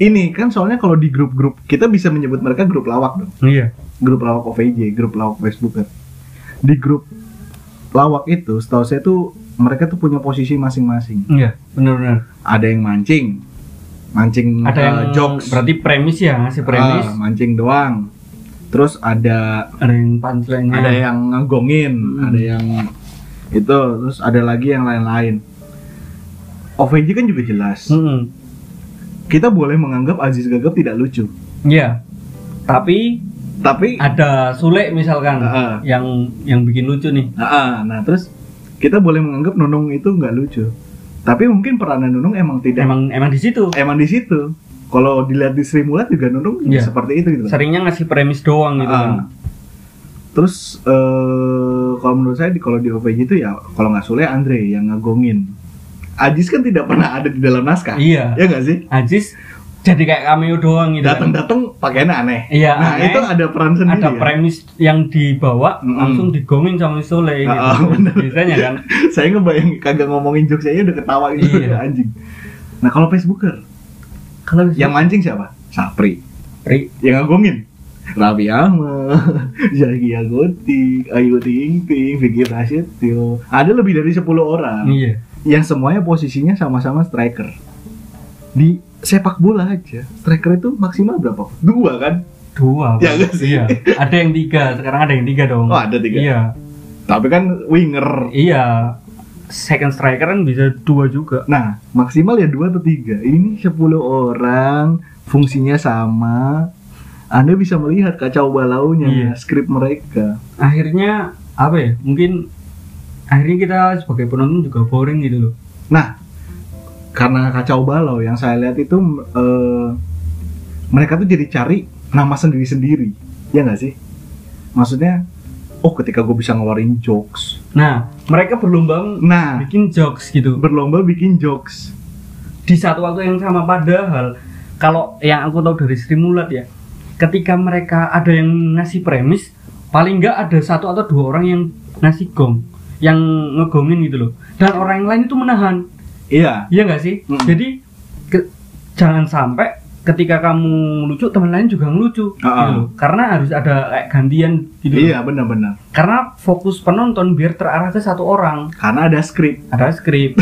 Speaker 3: ini kan soalnya kalau di grup-grup kita bisa menyebut mereka grup lawak dong
Speaker 2: Iya.
Speaker 3: grup lawak OVJ, grup lawak Facebooker. Di grup lawak itu, setahu saya tuh mereka tuh punya posisi masing-masing.
Speaker 2: Iya, benar-benar.
Speaker 3: Ada yang mancing, mancing
Speaker 2: Ada
Speaker 3: eh,
Speaker 2: yang
Speaker 3: jokes,
Speaker 2: berarti premis ya, ngasih premis.
Speaker 3: Ah, mancing doang. Terus ada
Speaker 2: ada yang punchline-nya.
Speaker 3: ada ya. yang ngegongin,
Speaker 2: Hmm.
Speaker 3: ada yang itu, terus ada lagi yang lain-lain. OVJ kan juga jelas.
Speaker 2: Mm-mm.
Speaker 3: Kita boleh menganggap Aziz Gagap tidak lucu,
Speaker 2: Iya. Tapi
Speaker 3: tapi
Speaker 2: Ah. ada Sule misalkan
Speaker 3: Heeh.
Speaker 2: yang yang bikin lucu nih.
Speaker 3: Ah, ah, nah terus kita boleh menganggap Nunung itu nggak lucu. Tapi mungkin peranan Nunung emang tidak emang,
Speaker 2: Emang emang di situ.
Speaker 3: di situ. Kalau dilihat di Sri Mulat juga Nunung
Speaker 2: Iya.
Speaker 3: seperti itu gitu.
Speaker 2: Seringnya ngasih premis doang gitu kan.
Speaker 3: Ah. Terus eh kalau menurut saya di kalau di OVJ itu ya kalau nggak Sule Andre yang ngagongin. Ajis kan tidak pernah ada di dalam naskah.
Speaker 2: Iya.
Speaker 3: Ya nggak sih?
Speaker 2: Ajis jadi kayak cameo doang gitu. kan.
Speaker 3: Datang-datang pakaiannya aneh.
Speaker 2: Iya,
Speaker 3: nah,
Speaker 2: aneh.
Speaker 3: itu ada peran sendiri.
Speaker 2: ada
Speaker 3: ya.
Speaker 2: premis yang dibawa
Speaker 3: Mm-mm.
Speaker 2: langsung digongin sama Sule gitu.
Speaker 3: Ah, ah, bener.
Speaker 2: Biasanya kan.
Speaker 3: saya ngebayang kagak ngomongin jokes saya udah ketawa gitu
Speaker 2: Iya.
Speaker 3: anjing. Nah, kalau Facebooker
Speaker 2: Kalau
Speaker 3: Yang mancing siapa? Sapri.
Speaker 2: Ri,
Speaker 3: Yang ngagungin? Raffi Ahmad, Zakia Gotik, Ayu Ting Ting, Vicky Prasetyo. Ada lebih dari 10 orang
Speaker 2: iya.
Speaker 3: yang semuanya posisinya sama-sama striker. Di sepak bola aja, striker itu maksimal berapa? Dua kan?
Speaker 2: Dua.
Speaker 3: Ya,
Speaker 2: Bang.
Speaker 3: nggak sih?
Speaker 2: Iya. Ada yang tiga, sekarang ada yang tiga dong.
Speaker 3: Oh, ada tiga.
Speaker 2: Iya.
Speaker 3: Tapi kan winger.
Speaker 2: Iya. Second striker kan bisa dua juga.
Speaker 3: Nah, maksimal ya dua atau tiga. Ini 10 orang, fungsinya sama. Anda bisa melihat kacau balaunya,
Speaker 2: Iya.
Speaker 3: skrip mereka.
Speaker 2: Akhirnya apa ya? Mungkin akhirnya kita sebagai penonton juga boring gitu loh.
Speaker 3: Nah, karena kacau balau yang saya lihat itu eh, mereka tuh jadi cari nama sendiri-sendiri, ya nggak sih? Maksudnya, oh ketika gue bisa ngeluarin jokes,
Speaker 2: Nah, mereka berlomba
Speaker 3: nah
Speaker 2: bikin jokes gitu.
Speaker 3: berlomba bikin jokes,
Speaker 2: di satu waktu yang sama padahal kalau yang aku tahu dari Sri Mulat ya ketika mereka ada yang ngasih premis paling nggak ada satu atau dua orang yang ngasih gong yang ngegongin gitu loh dan orang yang lain itu menahan
Speaker 3: iya,
Speaker 2: iya nggak sih
Speaker 3: Mm.
Speaker 2: jadi ke- jangan sampai ketika kamu lucu teman lain juga ngelucu gitu
Speaker 3: Ah.
Speaker 2: loh. karena harus ada kayak gantian gitu loh.
Speaker 3: iya benar-benar,
Speaker 2: karena fokus penonton biar terarah ke satu orang
Speaker 3: karena ada skrip,
Speaker 2: ada skrip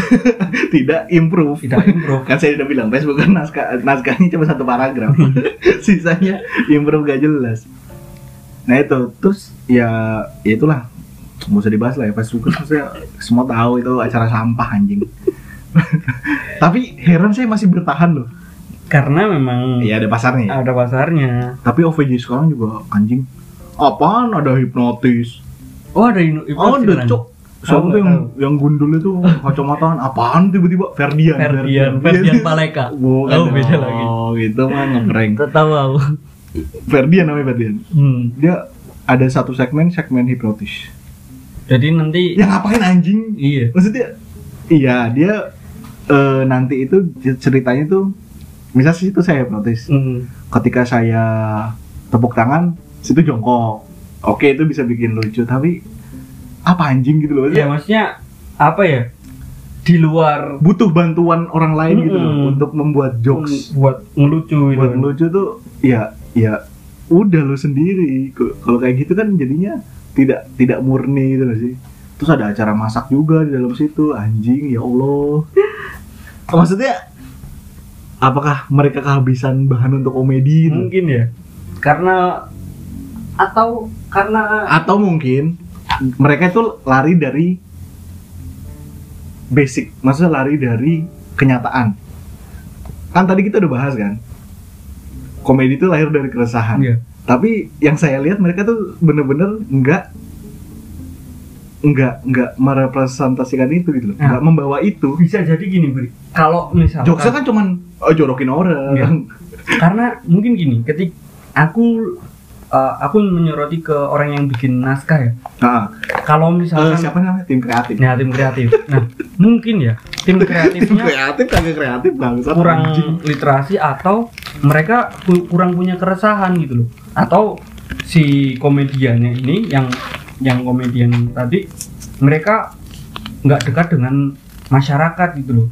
Speaker 3: tidak improve.
Speaker 2: tidak improv
Speaker 3: Kan saya udah bilang, Facebook kan naskah, naskahnya cuma satu paragraf,
Speaker 2: Hmm.
Speaker 3: sisanya improve gak jelas. Nah itu, terus ya, ya itulah nggak usah dibahas lah ya Facebook kan maksudnya semua tahu itu acara sampah anjing tapi heran saya masih bertahan loh
Speaker 2: karena memang
Speaker 3: iya ada pasarnya ya
Speaker 2: ada pasarnya
Speaker 3: tapi OVJ sekarang juga anjing apaan ada hipnotis
Speaker 2: Oh ada inu
Speaker 3: oh ada cok
Speaker 2: Tahu,
Speaker 3: Siapa tuh yang,
Speaker 2: tahu.
Speaker 3: yang gundul itu kacamataan apaan tiba-tiba Ferdian
Speaker 2: Ferdian, Ferdian Paleka.
Speaker 3: Bukan
Speaker 2: Oh, beda
Speaker 3: dong.
Speaker 2: lagi.
Speaker 3: kan. Oh, gitu mah ngeprank.
Speaker 2: Tahu aku.
Speaker 3: Ferdian namanya Ferdian.
Speaker 2: Hmm.
Speaker 3: Dia ada satu segmen segmen hipnotis.
Speaker 2: Jadi nanti
Speaker 3: ya ngapain anjing
Speaker 2: iya.
Speaker 3: maksudnya iya dia eh, nanti itu ceritanya tuh misal situ saya hipnotis
Speaker 2: Hmm.
Speaker 3: ketika saya tepuk tangan situ jongkok oke itu bisa bikin lucu tapi apa anjing gitu loh
Speaker 2: Ya maksudnya apa ya? Di luar
Speaker 3: butuh bantuan orang lain gitu loh
Speaker 2: Mm-mm.
Speaker 3: untuk membuat jokes
Speaker 2: mm, buat ngelucu gitu.
Speaker 3: buat
Speaker 2: kan.
Speaker 3: lucu tuh ya ya udah lu sendiri K- kalau kayak gitu kan jadinya tidak tidak murni gitu loh sih terus ada acara masak juga di dalam situ anjing ya allah maksudnya apakah mereka kehabisan bahan untuk komedi gitu?
Speaker 2: Mungkin ya. Karena atau karena
Speaker 3: atau mungkin mereka itu lari dari basic maksudnya lari dari kenyataan kan tadi kita udah bahas kan komedi itu lahir dari keresahan
Speaker 2: Iya.
Speaker 3: tapi yang saya lihat mereka tuh bener-bener nggak nggak nggak merepresentasikan itu gitu loh
Speaker 2: Nah.
Speaker 3: nggak membawa itu
Speaker 2: bisa jadi gini, Bri. Kalau misalkan
Speaker 3: jokesnya kan cuman eh, jorokin orang
Speaker 2: Iya. karena mungkin gini, ketika aku eh, aku menyoroti ke orang yang bikin naskah ya.
Speaker 3: nah,
Speaker 2: Kalau
Speaker 3: eh,
Speaker 2: misalkan
Speaker 3: siapa namanya tim kreatif
Speaker 2: Nah, tim kreatif. Nah, mungkin ya tim
Speaker 3: tim
Speaker 2: kreatifnya
Speaker 3: kreatif kagak kreatif bangsat
Speaker 2: kurang
Speaker 3: anjing.
Speaker 2: literasi atau mereka pu- kurang punya keresahan gitu loh. Atau si komediannya ini yang yang komedian tadi mereka nggak dekat dengan masyarakat gitu loh.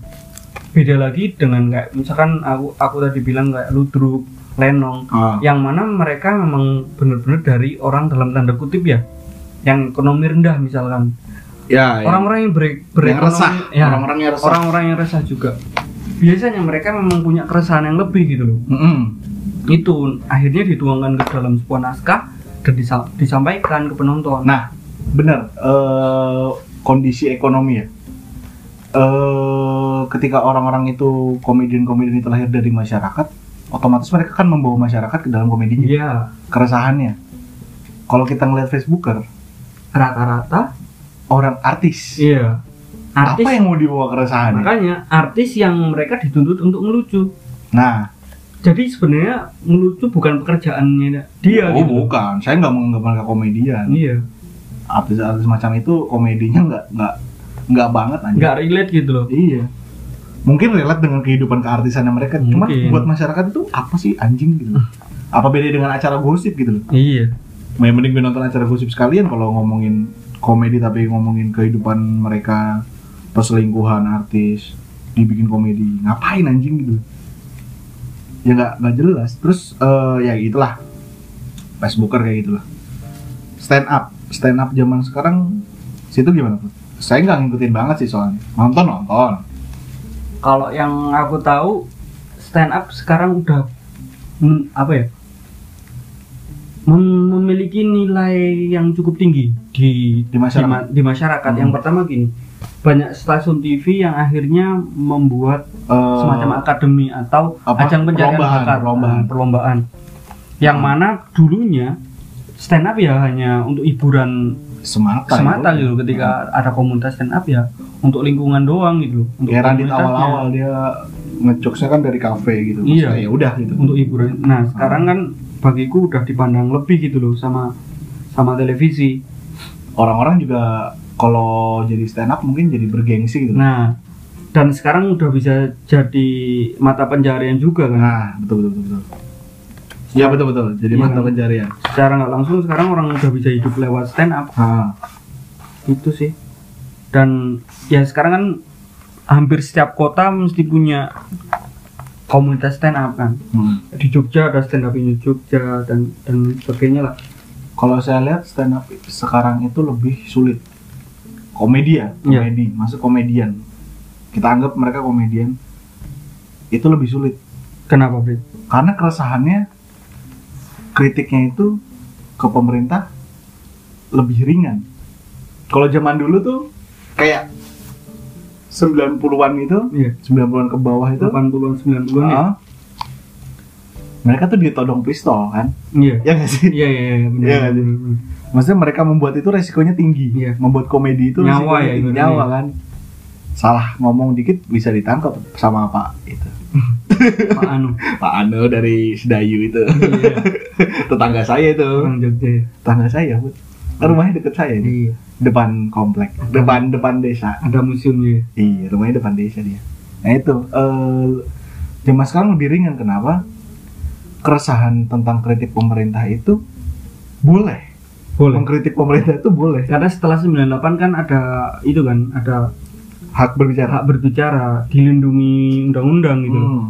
Speaker 2: Beda lagi dengan kayak misalkan aku aku tadi bilang kayak Ludruk, Lenong
Speaker 3: Ah,
Speaker 2: yang mana mereka memang benar-benar dari orang dalam tanda kutip ya yang ekonomi rendah misalkan
Speaker 3: ya, ya.
Speaker 2: orang-orang yang ber-
Speaker 3: Yang
Speaker 2: berekonomi
Speaker 3: resah.
Speaker 2: ya,
Speaker 3: Orang-orang yang resah.
Speaker 2: orang-orang yang resah juga biasanya mereka memang punya keresahan yang lebih gitu loh
Speaker 3: Mm-mm.
Speaker 2: itu akhirnya dituangkan ke dalam sebuah naskah dan disa- disampaikan ke penonton
Speaker 3: Nah, benar. eh, kondisi ekonomi ya. eh ketika orang-orang itu komedian-komedian itu lahir dari masyarakat, otomatis mereka kan membawa masyarakat ke dalam komedinya,
Speaker 2: iya
Speaker 3: keresahannya. Kalau kita ngeliat Facebooker,
Speaker 2: rata-rata
Speaker 3: orang artis,
Speaker 2: iya artis
Speaker 3: apa yang mau dibawa keresahannya?
Speaker 2: makanya artis yang mereka dituntut untuk ngelucu
Speaker 3: Nah,
Speaker 2: jadi sebenarnya ngelucu bukan pekerjaannya dia
Speaker 3: oh
Speaker 2: gitu loh.
Speaker 3: bukan, saya nggak menganggap mereka komedian.
Speaker 2: iya
Speaker 3: Artis-artis macam itu komedinya nggak nggak nggak banget aja.
Speaker 2: nggak relate gitu loh
Speaker 3: Iya. Mungkin relate dengan kehidupan keartisannya mereka. Cuman
Speaker 2: Mungkin.
Speaker 3: buat masyarakat itu apa sih anjing gitu. loh. Apa beda dengan acara gosip gitu loh.
Speaker 2: iya
Speaker 3: Mending mending gue nonton acara gosip sekalian kalau ngomongin komedi tapi ngomongin kehidupan mereka perselingkuhan artis dibikin komedi ngapain anjing gitu ya nggak nggak jelas terus eh, ya gitulah Facebooker kayak gitulah stand up stand up zaman sekarang situ gimana tuh saya nggak ngikutin banget sih soalnya nonton nonton
Speaker 2: kalau yang aku tahu stand up sekarang udah men- apa ya mem- memiliki nilai yang cukup tinggi di
Speaker 3: Di masyarakat.
Speaker 2: di ma- di masyarakat. yang
Speaker 3: Hmm.
Speaker 2: pertama gini banyak stasiun TV yang akhirnya membuat
Speaker 3: Eh,
Speaker 2: semacam akademi atau
Speaker 3: apa?
Speaker 2: ajang pencarian
Speaker 3: Perlombaan,
Speaker 2: bakat
Speaker 3: perlombaan.
Speaker 2: perlombaan yang
Speaker 3: Hmm.
Speaker 2: mana dulunya stand up ya hanya untuk hiburan
Speaker 3: semata
Speaker 2: semata
Speaker 3: ya.
Speaker 2: gitu ketika ada komunitas stand up ya untuk lingkungan doang gitu loh untuk
Speaker 3: ya Radit
Speaker 2: komunitasnya.
Speaker 3: awal-awal dia ngejokesnya kan dari kafe gitu
Speaker 2: Iya.
Speaker 3: Maksudnya ya udah gitu
Speaker 2: untuk hiburan. Nah, sekarang kan bagiku udah dipandang lebih gitu loh sama sama televisi.
Speaker 3: orang-orang juga kalau jadi stand up mungkin jadi bergengsi gitu
Speaker 2: Nah, dan sekarang udah bisa jadi mata pencarian juga kan.
Speaker 3: nah betul betul betul, betul. ya betul betul jadi ya.
Speaker 2: Iya.
Speaker 3: mata pencarian
Speaker 2: Secara nggak langsung sekarang orang udah bisa hidup lewat stand up
Speaker 3: Ah,
Speaker 2: gitu sih. Dan ya sekarang kan hampir setiap kota mesti punya komunitas stand up kan.
Speaker 3: hmm.
Speaker 2: Di Jogja ada stand up di Jogja dan dan sebagainya lah.
Speaker 3: kalau saya lihat stand up sekarang itu lebih sulit komedi ya
Speaker 2: Iya.
Speaker 3: komedi masuk komedian kita anggap mereka komedian itu lebih sulit
Speaker 2: Kenapa, Brit?
Speaker 3: karena keresahannya kritiknya itu ke pemerintah lebih ringan kalau zaman dulu tuh kayak 90-an itu
Speaker 2: Iya.
Speaker 3: 90-an ke bawah itu
Speaker 2: 80-an 90-an ya?
Speaker 3: ah, mereka tuh ditodong pistol kan
Speaker 2: Iya.
Speaker 3: ya nggak sih
Speaker 2: Iya iya iya benar.
Speaker 3: Iya,
Speaker 2: benar,
Speaker 3: kan?
Speaker 2: benar.
Speaker 3: maksudnya mereka membuat itu resikonya tinggi
Speaker 2: Iya.
Speaker 3: membuat komedi itu
Speaker 2: Nyawa
Speaker 3: resikonya
Speaker 2: ya,
Speaker 3: tinggi.
Speaker 2: ibaratnya.
Speaker 3: nyawa kan salah ngomong dikit bisa ditangkap sama pak itu
Speaker 2: Pak Anu.
Speaker 3: pak Ano dari Sedayu itu
Speaker 2: Iya,
Speaker 3: tetangga saya itu
Speaker 2: orang Jogja ya.
Speaker 3: tetangga saya bu Kan rumahnya deket saya ini
Speaker 2: Iya.
Speaker 3: depan komplek, depan depan desa.
Speaker 2: ada ya. museumnya
Speaker 3: Iya, rumahnya depan desa dia. Nah itu, eh zaman sekarang lebih ringan kenapa? Keresahan tentang kritik pemerintah itu boleh.
Speaker 2: boleh
Speaker 3: Mengkritik pemerintah itu boleh.
Speaker 2: karena setelah 98 kan ada itu kan ada
Speaker 3: Hak berbicara.
Speaker 2: hak berbicara dilindungi undang-undang gitu loh.
Speaker 3: Hmm.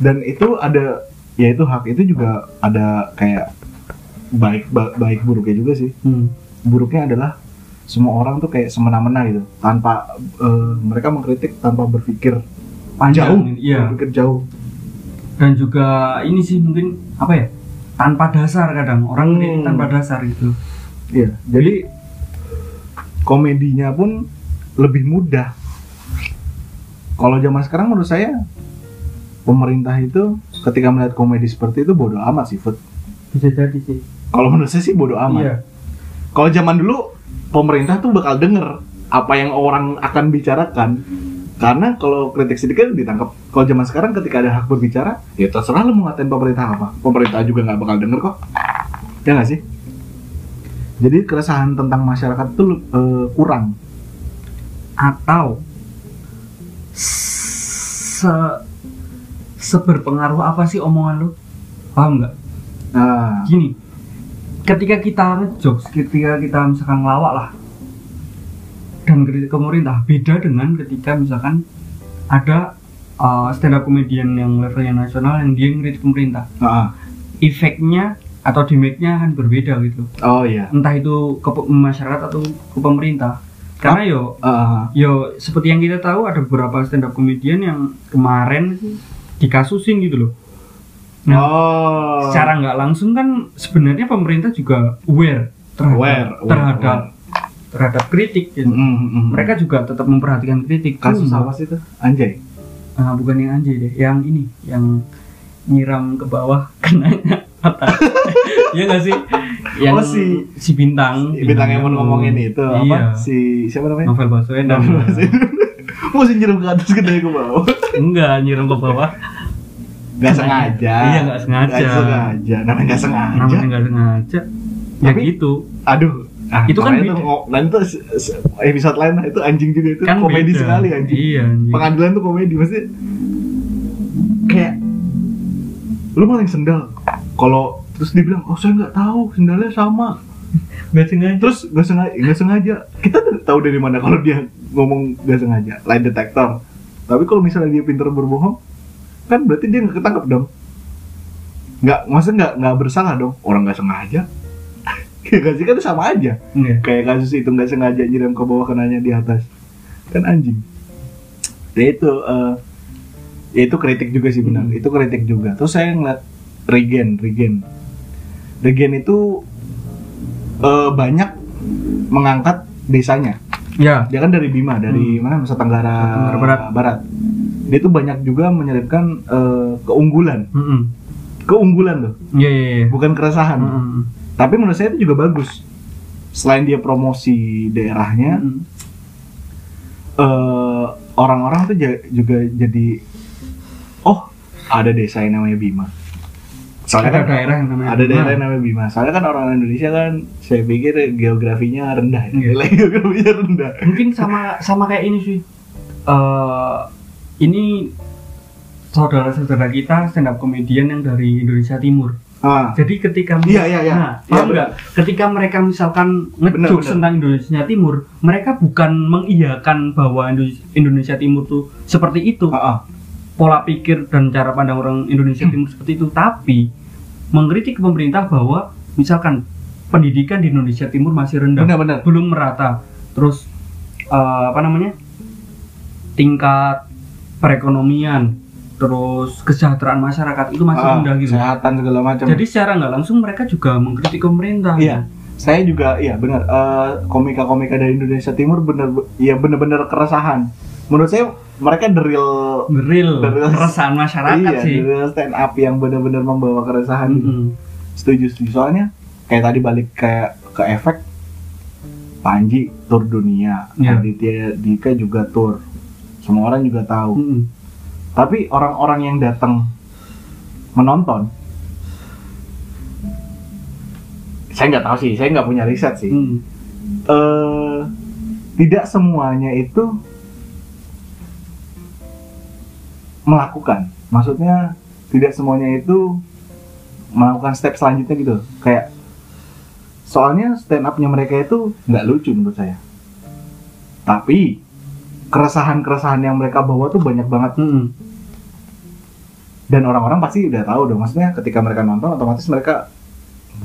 Speaker 3: Dan itu ada, ya itu hak itu juga ada kayak baik ba- baik buruknya juga sih.
Speaker 2: Hmm.
Speaker 3: buruknya adalah semua orang tuh kayak semena-mena gitu tanpa eh, mereka mengkritik tanpa berpikir
Speaker 2: Panjang,
Speaker 3: jauh
Speaker 2: iya.
Speaker 3: berpikir jauh
Speaker 2: dan juga ini sih mungkin apa ya tanpa dasar kadang orang kritik
Speaker 3: Hmm.
Speaker 2: tanpa dasar gitu
Speaker 3: iya jadi komedinya pun lebih mudah kalau zaman sekarang menurut saya pemerintah itu ketika melihat komedi seperti itu bodoh amat sih Fut.
Speaker 2: bisa jadi sih
Speaker 3: kalau menurut saya sih bodoh amat
Speaker 2: iya
Speaker 3: kalau zaman dulu pemerintah tuh bakal denger apa yang orang akan bicarakan karena kalau kritik sedikit ditangkap kalau zaman sekarang ketika ada hak berbicara ya terserah lu mau ngatain pemerintah apa pemerintah juga nggak bakal denger kok ya nggak sih jadi keresahan tentang masyarakat tuh eh, kurang
Speaker 2: atau se seberpengaruh apa sih omongan lu paham nggak
Speaker 3: nah
Speaker 2: gini ketika kita ngejokes ketika kita misalkan ngelawak lah dan kritik ke pemerintah beda dengan ketika misalkan ada uh, stand up comedian yang levelnya nasional yang dia ngeritik pemerintah
Speaker 3: ah,
Speaker 2: efeknya atau damage-nya akan berbeda gitu
Speaker 3: oh iya
Speaker 2: entah itu ke pe- masyarakat atau ke pemerintah karena yo
Speaker 3: Ah,
Speaker 2: Yo, seperti yang kita tahu ada beberapa stand up comedian yang kemarin dikasusin gitu loh. Nah,
Speaker 3: oh
Speaker 2: secara nggak langsung kan sebenarnya pemerintah juga aware terhadap
Speaker 3: Aware, aware,
Speaker 2: terhadap terhadap kritik gitu.
Speaker 3: Mm, mm, mm.
Speaker 2: Mereka juga tetap memperhatikan kritik.
Speaker 3: kasus
Speaker 2: Cuma-
Speaker 3: apa sih itu anjay
Speaker 2: Ah, bukan yang anjay deh, yang ini, yang nyiram ke bawah kenanya atas. Iya nggak sih? Yang
Speaker 3: Oh, si-
Speaker 2: si bintang.
Speaker 3: bintang yang mau ngomongin itu
Speaker 2: Iya.
Speaker 3: apa si siapa namanya
Speaker 2: Novel Baswedan.
Speaker 3: mau sih nyiram ke atas gede ke bawah
Speaker 2: Enggak, nyiram ke bawah.
Speaker 3: Gak sengaja.
Speaker 2: Iya, nggak sengaja.
Speaker 3: Nggak sengaja. Namanya gak sengaja.
Speaker 2: namanya nggak sengaja ya
Speaker 3: Tapi-
Speaker 2: gitu
Speaker 3: Aduh. Ah,
Speaker 2: Itu kan
Speaker 3: makanya
Speaker 2: beda.
Speaker 3: tuh ngo- dan itu se- se- episode lain lah, itu anjing juga itu
Speaker 2: kan
Speaker 3: komedi
Speaker 2: beda.
Speaker 3: sekali anjing.
Speaker 2: iya anjing.
Speaker 3: Pengadilan tuh komedi maksudnya kayak lu maling sendal. Kalau terus dia bilang, "Oh, saya nggak tahu, sendalnya sama."
Speaker 2: nggak sengaja
Speaker 3: Terus nggak sengaja, nggak sengaja. Kita tuh tahu dari mana kalau dia ngomong nggak sengaja, lie detector. Tapi kalau misalnya dia pintar berbohong, kan berarti dia nggak ketangkep dong. Nggak, masa nggak nggak bersalah dong? Orang nggak sengaja. ya nggak sih kan sama aja.
Speaker 2: Iya.
Speaker 3: Kayak kasus itu nggak sengaja nyiram ke bawah kenanya di atas, kan anjing. Ya itu, eh, ya itu kritik juga sih benar.
Speaker 2: Hmm.
Speaker 3: Itu kritik juga. Terus saya ngeliat Regen, Regen, Regen itu eh, banyak mengangkat desanya.
Speaker 2: ya
Speaker 3: Dia kan dari Bima, dari mana Nusa Tenggara,
Speaker 2: Hmm. Nusa Tenggara Barat.
Speaker 3: Dia tuh banyak juga menyelipkan eh, keunggulan,
Speaker 2: Mm-mm.
Speaker 3: keunggulan loh,
Speaker 2: iya iya iya
Speaker 3: bukan keresahan.
Speaker 2: Mm-mm.
Speaker 3: Tapi menurut saya itu juga bagus. Selain dia promosi daerahnya,
Speaker 2: Mm-mm.
Speaker 3: eh, orang-orang tuh ja- juga jadi, oh ada desa yang namanya Bima.
Speaker 2: ada
Speaker 3: kan-
Speaker 2: daerah yang namanya
Speaker 3: ada
Speaker 2: Bima.
Speaker 3: daerah yang namanya Bima. Soalnya kan orang Indonesia kan saya pikir geografinya rendah ya.
Speaker 2: Iya.
Speaker 3: Nilai geografinya rendah.
Speaker 2: mungkin sama sama kayak ini sih Eh, ini saudara-saudara kita stand up comedian yang dari Indonesia Timur.
Speaker 3: Ah.
Speaker 2: Jadi ketika
Speaker 3: Iya, iya, iya.
Speaker 2: Nah, paham
Speaker 3: Iya,
Speaker 2: nggak? Ketika mereka misalkan ngejok
Speaker 3: benar.
Speaker 2: tentang Indonesia Timur, mereka bukan mengiyakan bahwa Indo- Indonesia Timur tuh seperti itu.
Speaker 3: Ah, ah.
Speaker 2: pola pikir dan cara pandang orang Indonesia
Speaker 3: Hmm.
Speaker 2: Timur seperti itu, tapi mengkritik pemerintah bahwa misalkan pendidikan di Indonesia Timur masih rendah,
Speaker 3: Benar-benar.
Speaker 2: belum merata, terus eh, apa namanya tingkat perekonomian, terus kesejahteraan masyarakat itu masih
Speaker 3: Ah,
Speaker 2: rendah gitu.
Speaker 3: Kesehatan segala macam.
Speaker 2: Jadi secara nggak langsung mereka juga mengkritik pemerintah. gitu.
Speaker 3: Iya, saya juga iya benar. Eh, komika-komika dari Indonesia Timur benar ya benar-benar keresahan. Menurut saya mereka the real
Speaker 2: Real,
Speaker 3: Real.
Speaker 2: keresahan masyarakat
Speaker 3: iya,
Speaker 2: sih.
Speaker 3: the real stand up yang benar-benar membawa keresahan.
Speaker 2: Mm-mm.
Speaker 3: Setuju, setuju. Soalnya kayak tadi balik kayak ke efek Panji tur dunia,
Speaker 2: Iya.
Speaker 3: Aditya Dika juga tur. Semua orang juga tahu.
Speaker 2: Mm-mm.
Speaker 3: Tapi orang-orang yang datang menonton saya nggak tahu sih saya nggak punya riset sih
Speaker 2: Hmm.
Speaker 3: eh tidak semuanya itu melakukan. Maksudnya tidak semuanya itu melakukan step selanjutnya gitu. Kayak soalnya stand up-nya mereka itu nggak lucu menurut saya. Tapi keresahan-keresahan yang mereka bawa tuh banyak banget
Speaker 2: Hmm.
Speaker 3: dan orang-orang pasti udah tahu dong maksudnya ketika mereka nonton otomatis mereka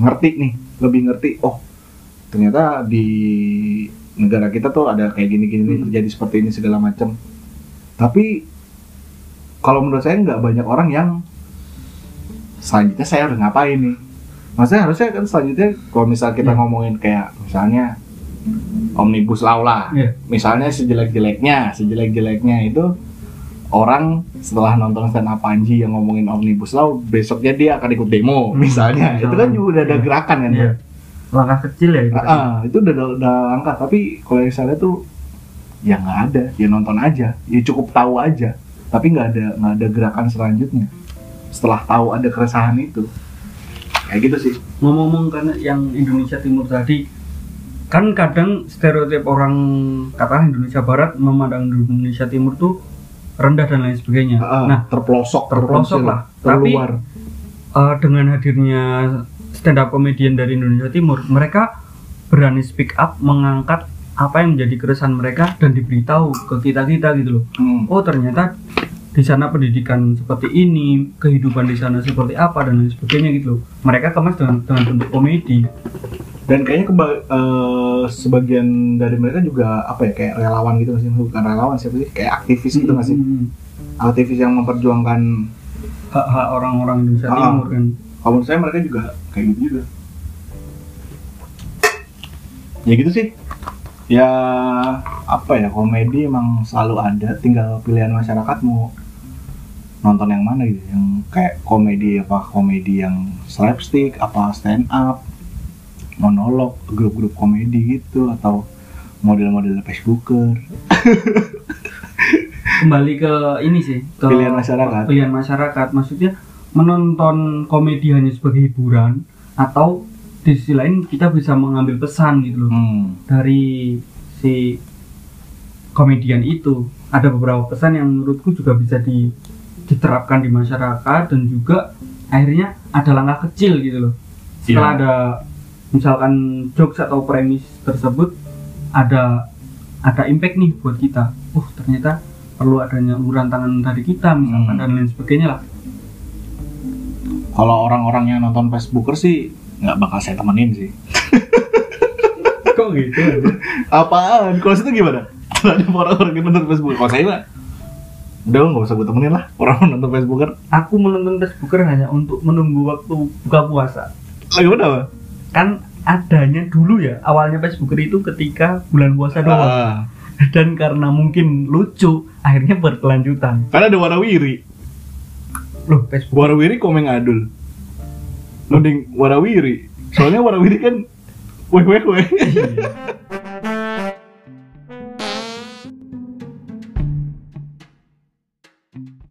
Speaker 3: ngerti nih lebih ngerti oh ternyata di negara kita tuh ada kayak gini-gini nih,
Speaker 2: Hmm.
Speaker 3: terjadi seperti ini segala macam tapi kalau menurut saya nggak banyak orang yang selanjutnya saya harus ngapain nih maksudnya harusnya kan selanjutnya kalau misal kita
Speaker 2: Iya.
Speaker 3: ngomongin kayak misalnya omnibus law lah
Speaker 2: Iya.
Speaker 3: misalnya sejelek-jeleknya sejelek-jeleknya itu orang setelah nonton stand up Panji yang ngomongin omnibus law besoknya dia akan ikut demo
Speaker 2: Hmm,
Speaker 3: misalnya itu kan
Speaker 2: misalnya.
Speaker 3: juga udah ada
Speaker 2: Iya.
Speaker 3: gerakan kan
Speaker 2: Iya. Langkah kecil ya. itu.
Speaker 3: Ah, ah, itu udah, udah, udah langkah tapi kalau yang saya lihat tuh ya nggak ada ya nonton aja ya cukup tahu aja tapi nggak ada nggak ada gerakan selanjutnya setelah tahu ada keresahan itu kayak gitu sih
Speaker 2: Ngomong-ngomong karena yang Indonesia Timur tadi kan kadang stereotip orang katakan Indonesia Barat memandang Indonesia Timur tuh rendah dan lain sebagainya.
Speaker 3: Ah, ah,
Speaker 2: Nah,
Speaker 3: terpelosok
Speaker 2: terpelosok
Speaker 3: terpencil,
Speaker 2: lah. Tapi
Speaker 3: terluar
Speaker 2: eh, dengan hadirnya stand up comedian dari Indonesia Timur, mereka berani speak up mengangkat apa yang menjadi keresahan mereka dan diberitahu ke kita-kita gitu loh.
Speaker 3: Hmm.
Speaker 2: oh ternyata di sana pendidikan seperti ini, kehidupan di sana seperti apa dan lain sebagainya gitu. loh. Mereka kemas dengan dengan bentuk komedi.
Speaker 3: dan kayaknya keba- eh, sebagian dari mereka juga apa ya kayak relawan gitu nggak sih bukan relawan siapa sih kayak aktivis gitu nggak sih
Speaker 2: Hmm.
Speaker 3: aktivis yang memperjuangkan
Speaker 2: Hak-hak orang-orang Indonesia
Speaker 3: Ah.
Speaker 2: Timur kan.
Speaker 3: kalau menurut saya mereka juga kayak gitu juga ya gitu sih ya apa ya komedi emang selalu ada tinggal pilihan masyarakat mau nonton yang mana gitu yang kayak komedi apa komedi yang slapstick apa stand up monolog grup-grup komedi gitu atau model-model Facebooker
Speaker 2: Kembali ke ini sih, ke
Speaker 3: pilihan masyarakat
Speaker 2: pilihan masyarakat. Maksudnya menonton komedi hanya sebagai hiburan atau di sisi lain kita bisa mengambil pesan gitu loh.
Speaker 3: Hmm.
Speaker 2: dari si komedian itu ada beberapa pesan yang menurutku juga bisa di- diterapkan di masyarakat dan juga akhirnya ada langkah kecil gitu loh setelah
Speaker 3: Iya.
Speaker 2: ada misalkan jokes atau premis tersebut ada ada impact nih buat kita uh ternyata perlu adanya uluran tangan dari kita misalkan
Speaker 3: Hmm.
Speaker 2: dan lain sebagainya lah
Speaker 3: kalau orang-orang yang nonton Facebooker sih nggak bakal saya temenin sih
Speaker 2: kok gitu
Speaker 3: Apaan? Kalau situ gimana? Ada orang-orang yang nonton Facebook. Kalau saya mah udah nggak usah gue temenin lah orang nonton kan. Facebooker.
Speaker 2: aku menonton Facebooker hanya untuk menunggu waktu buka puasa
Speaker 3: Lagi mana? Pak?
Speaker 2: kan adanya dulu ya awalnya Facebooker itu ketika bulan puasa doang
Speaker 3: Ah,
Speaker 2: dan karena mungkin lucu akhirnya berkelanjutan
Speaker 3: Karena ada warawiri.
Speaker 2: loh Facebook
Speaker 3: Warawiri komeng adul. Mending warawiri. Soalnya warawiri kan weh weh weh.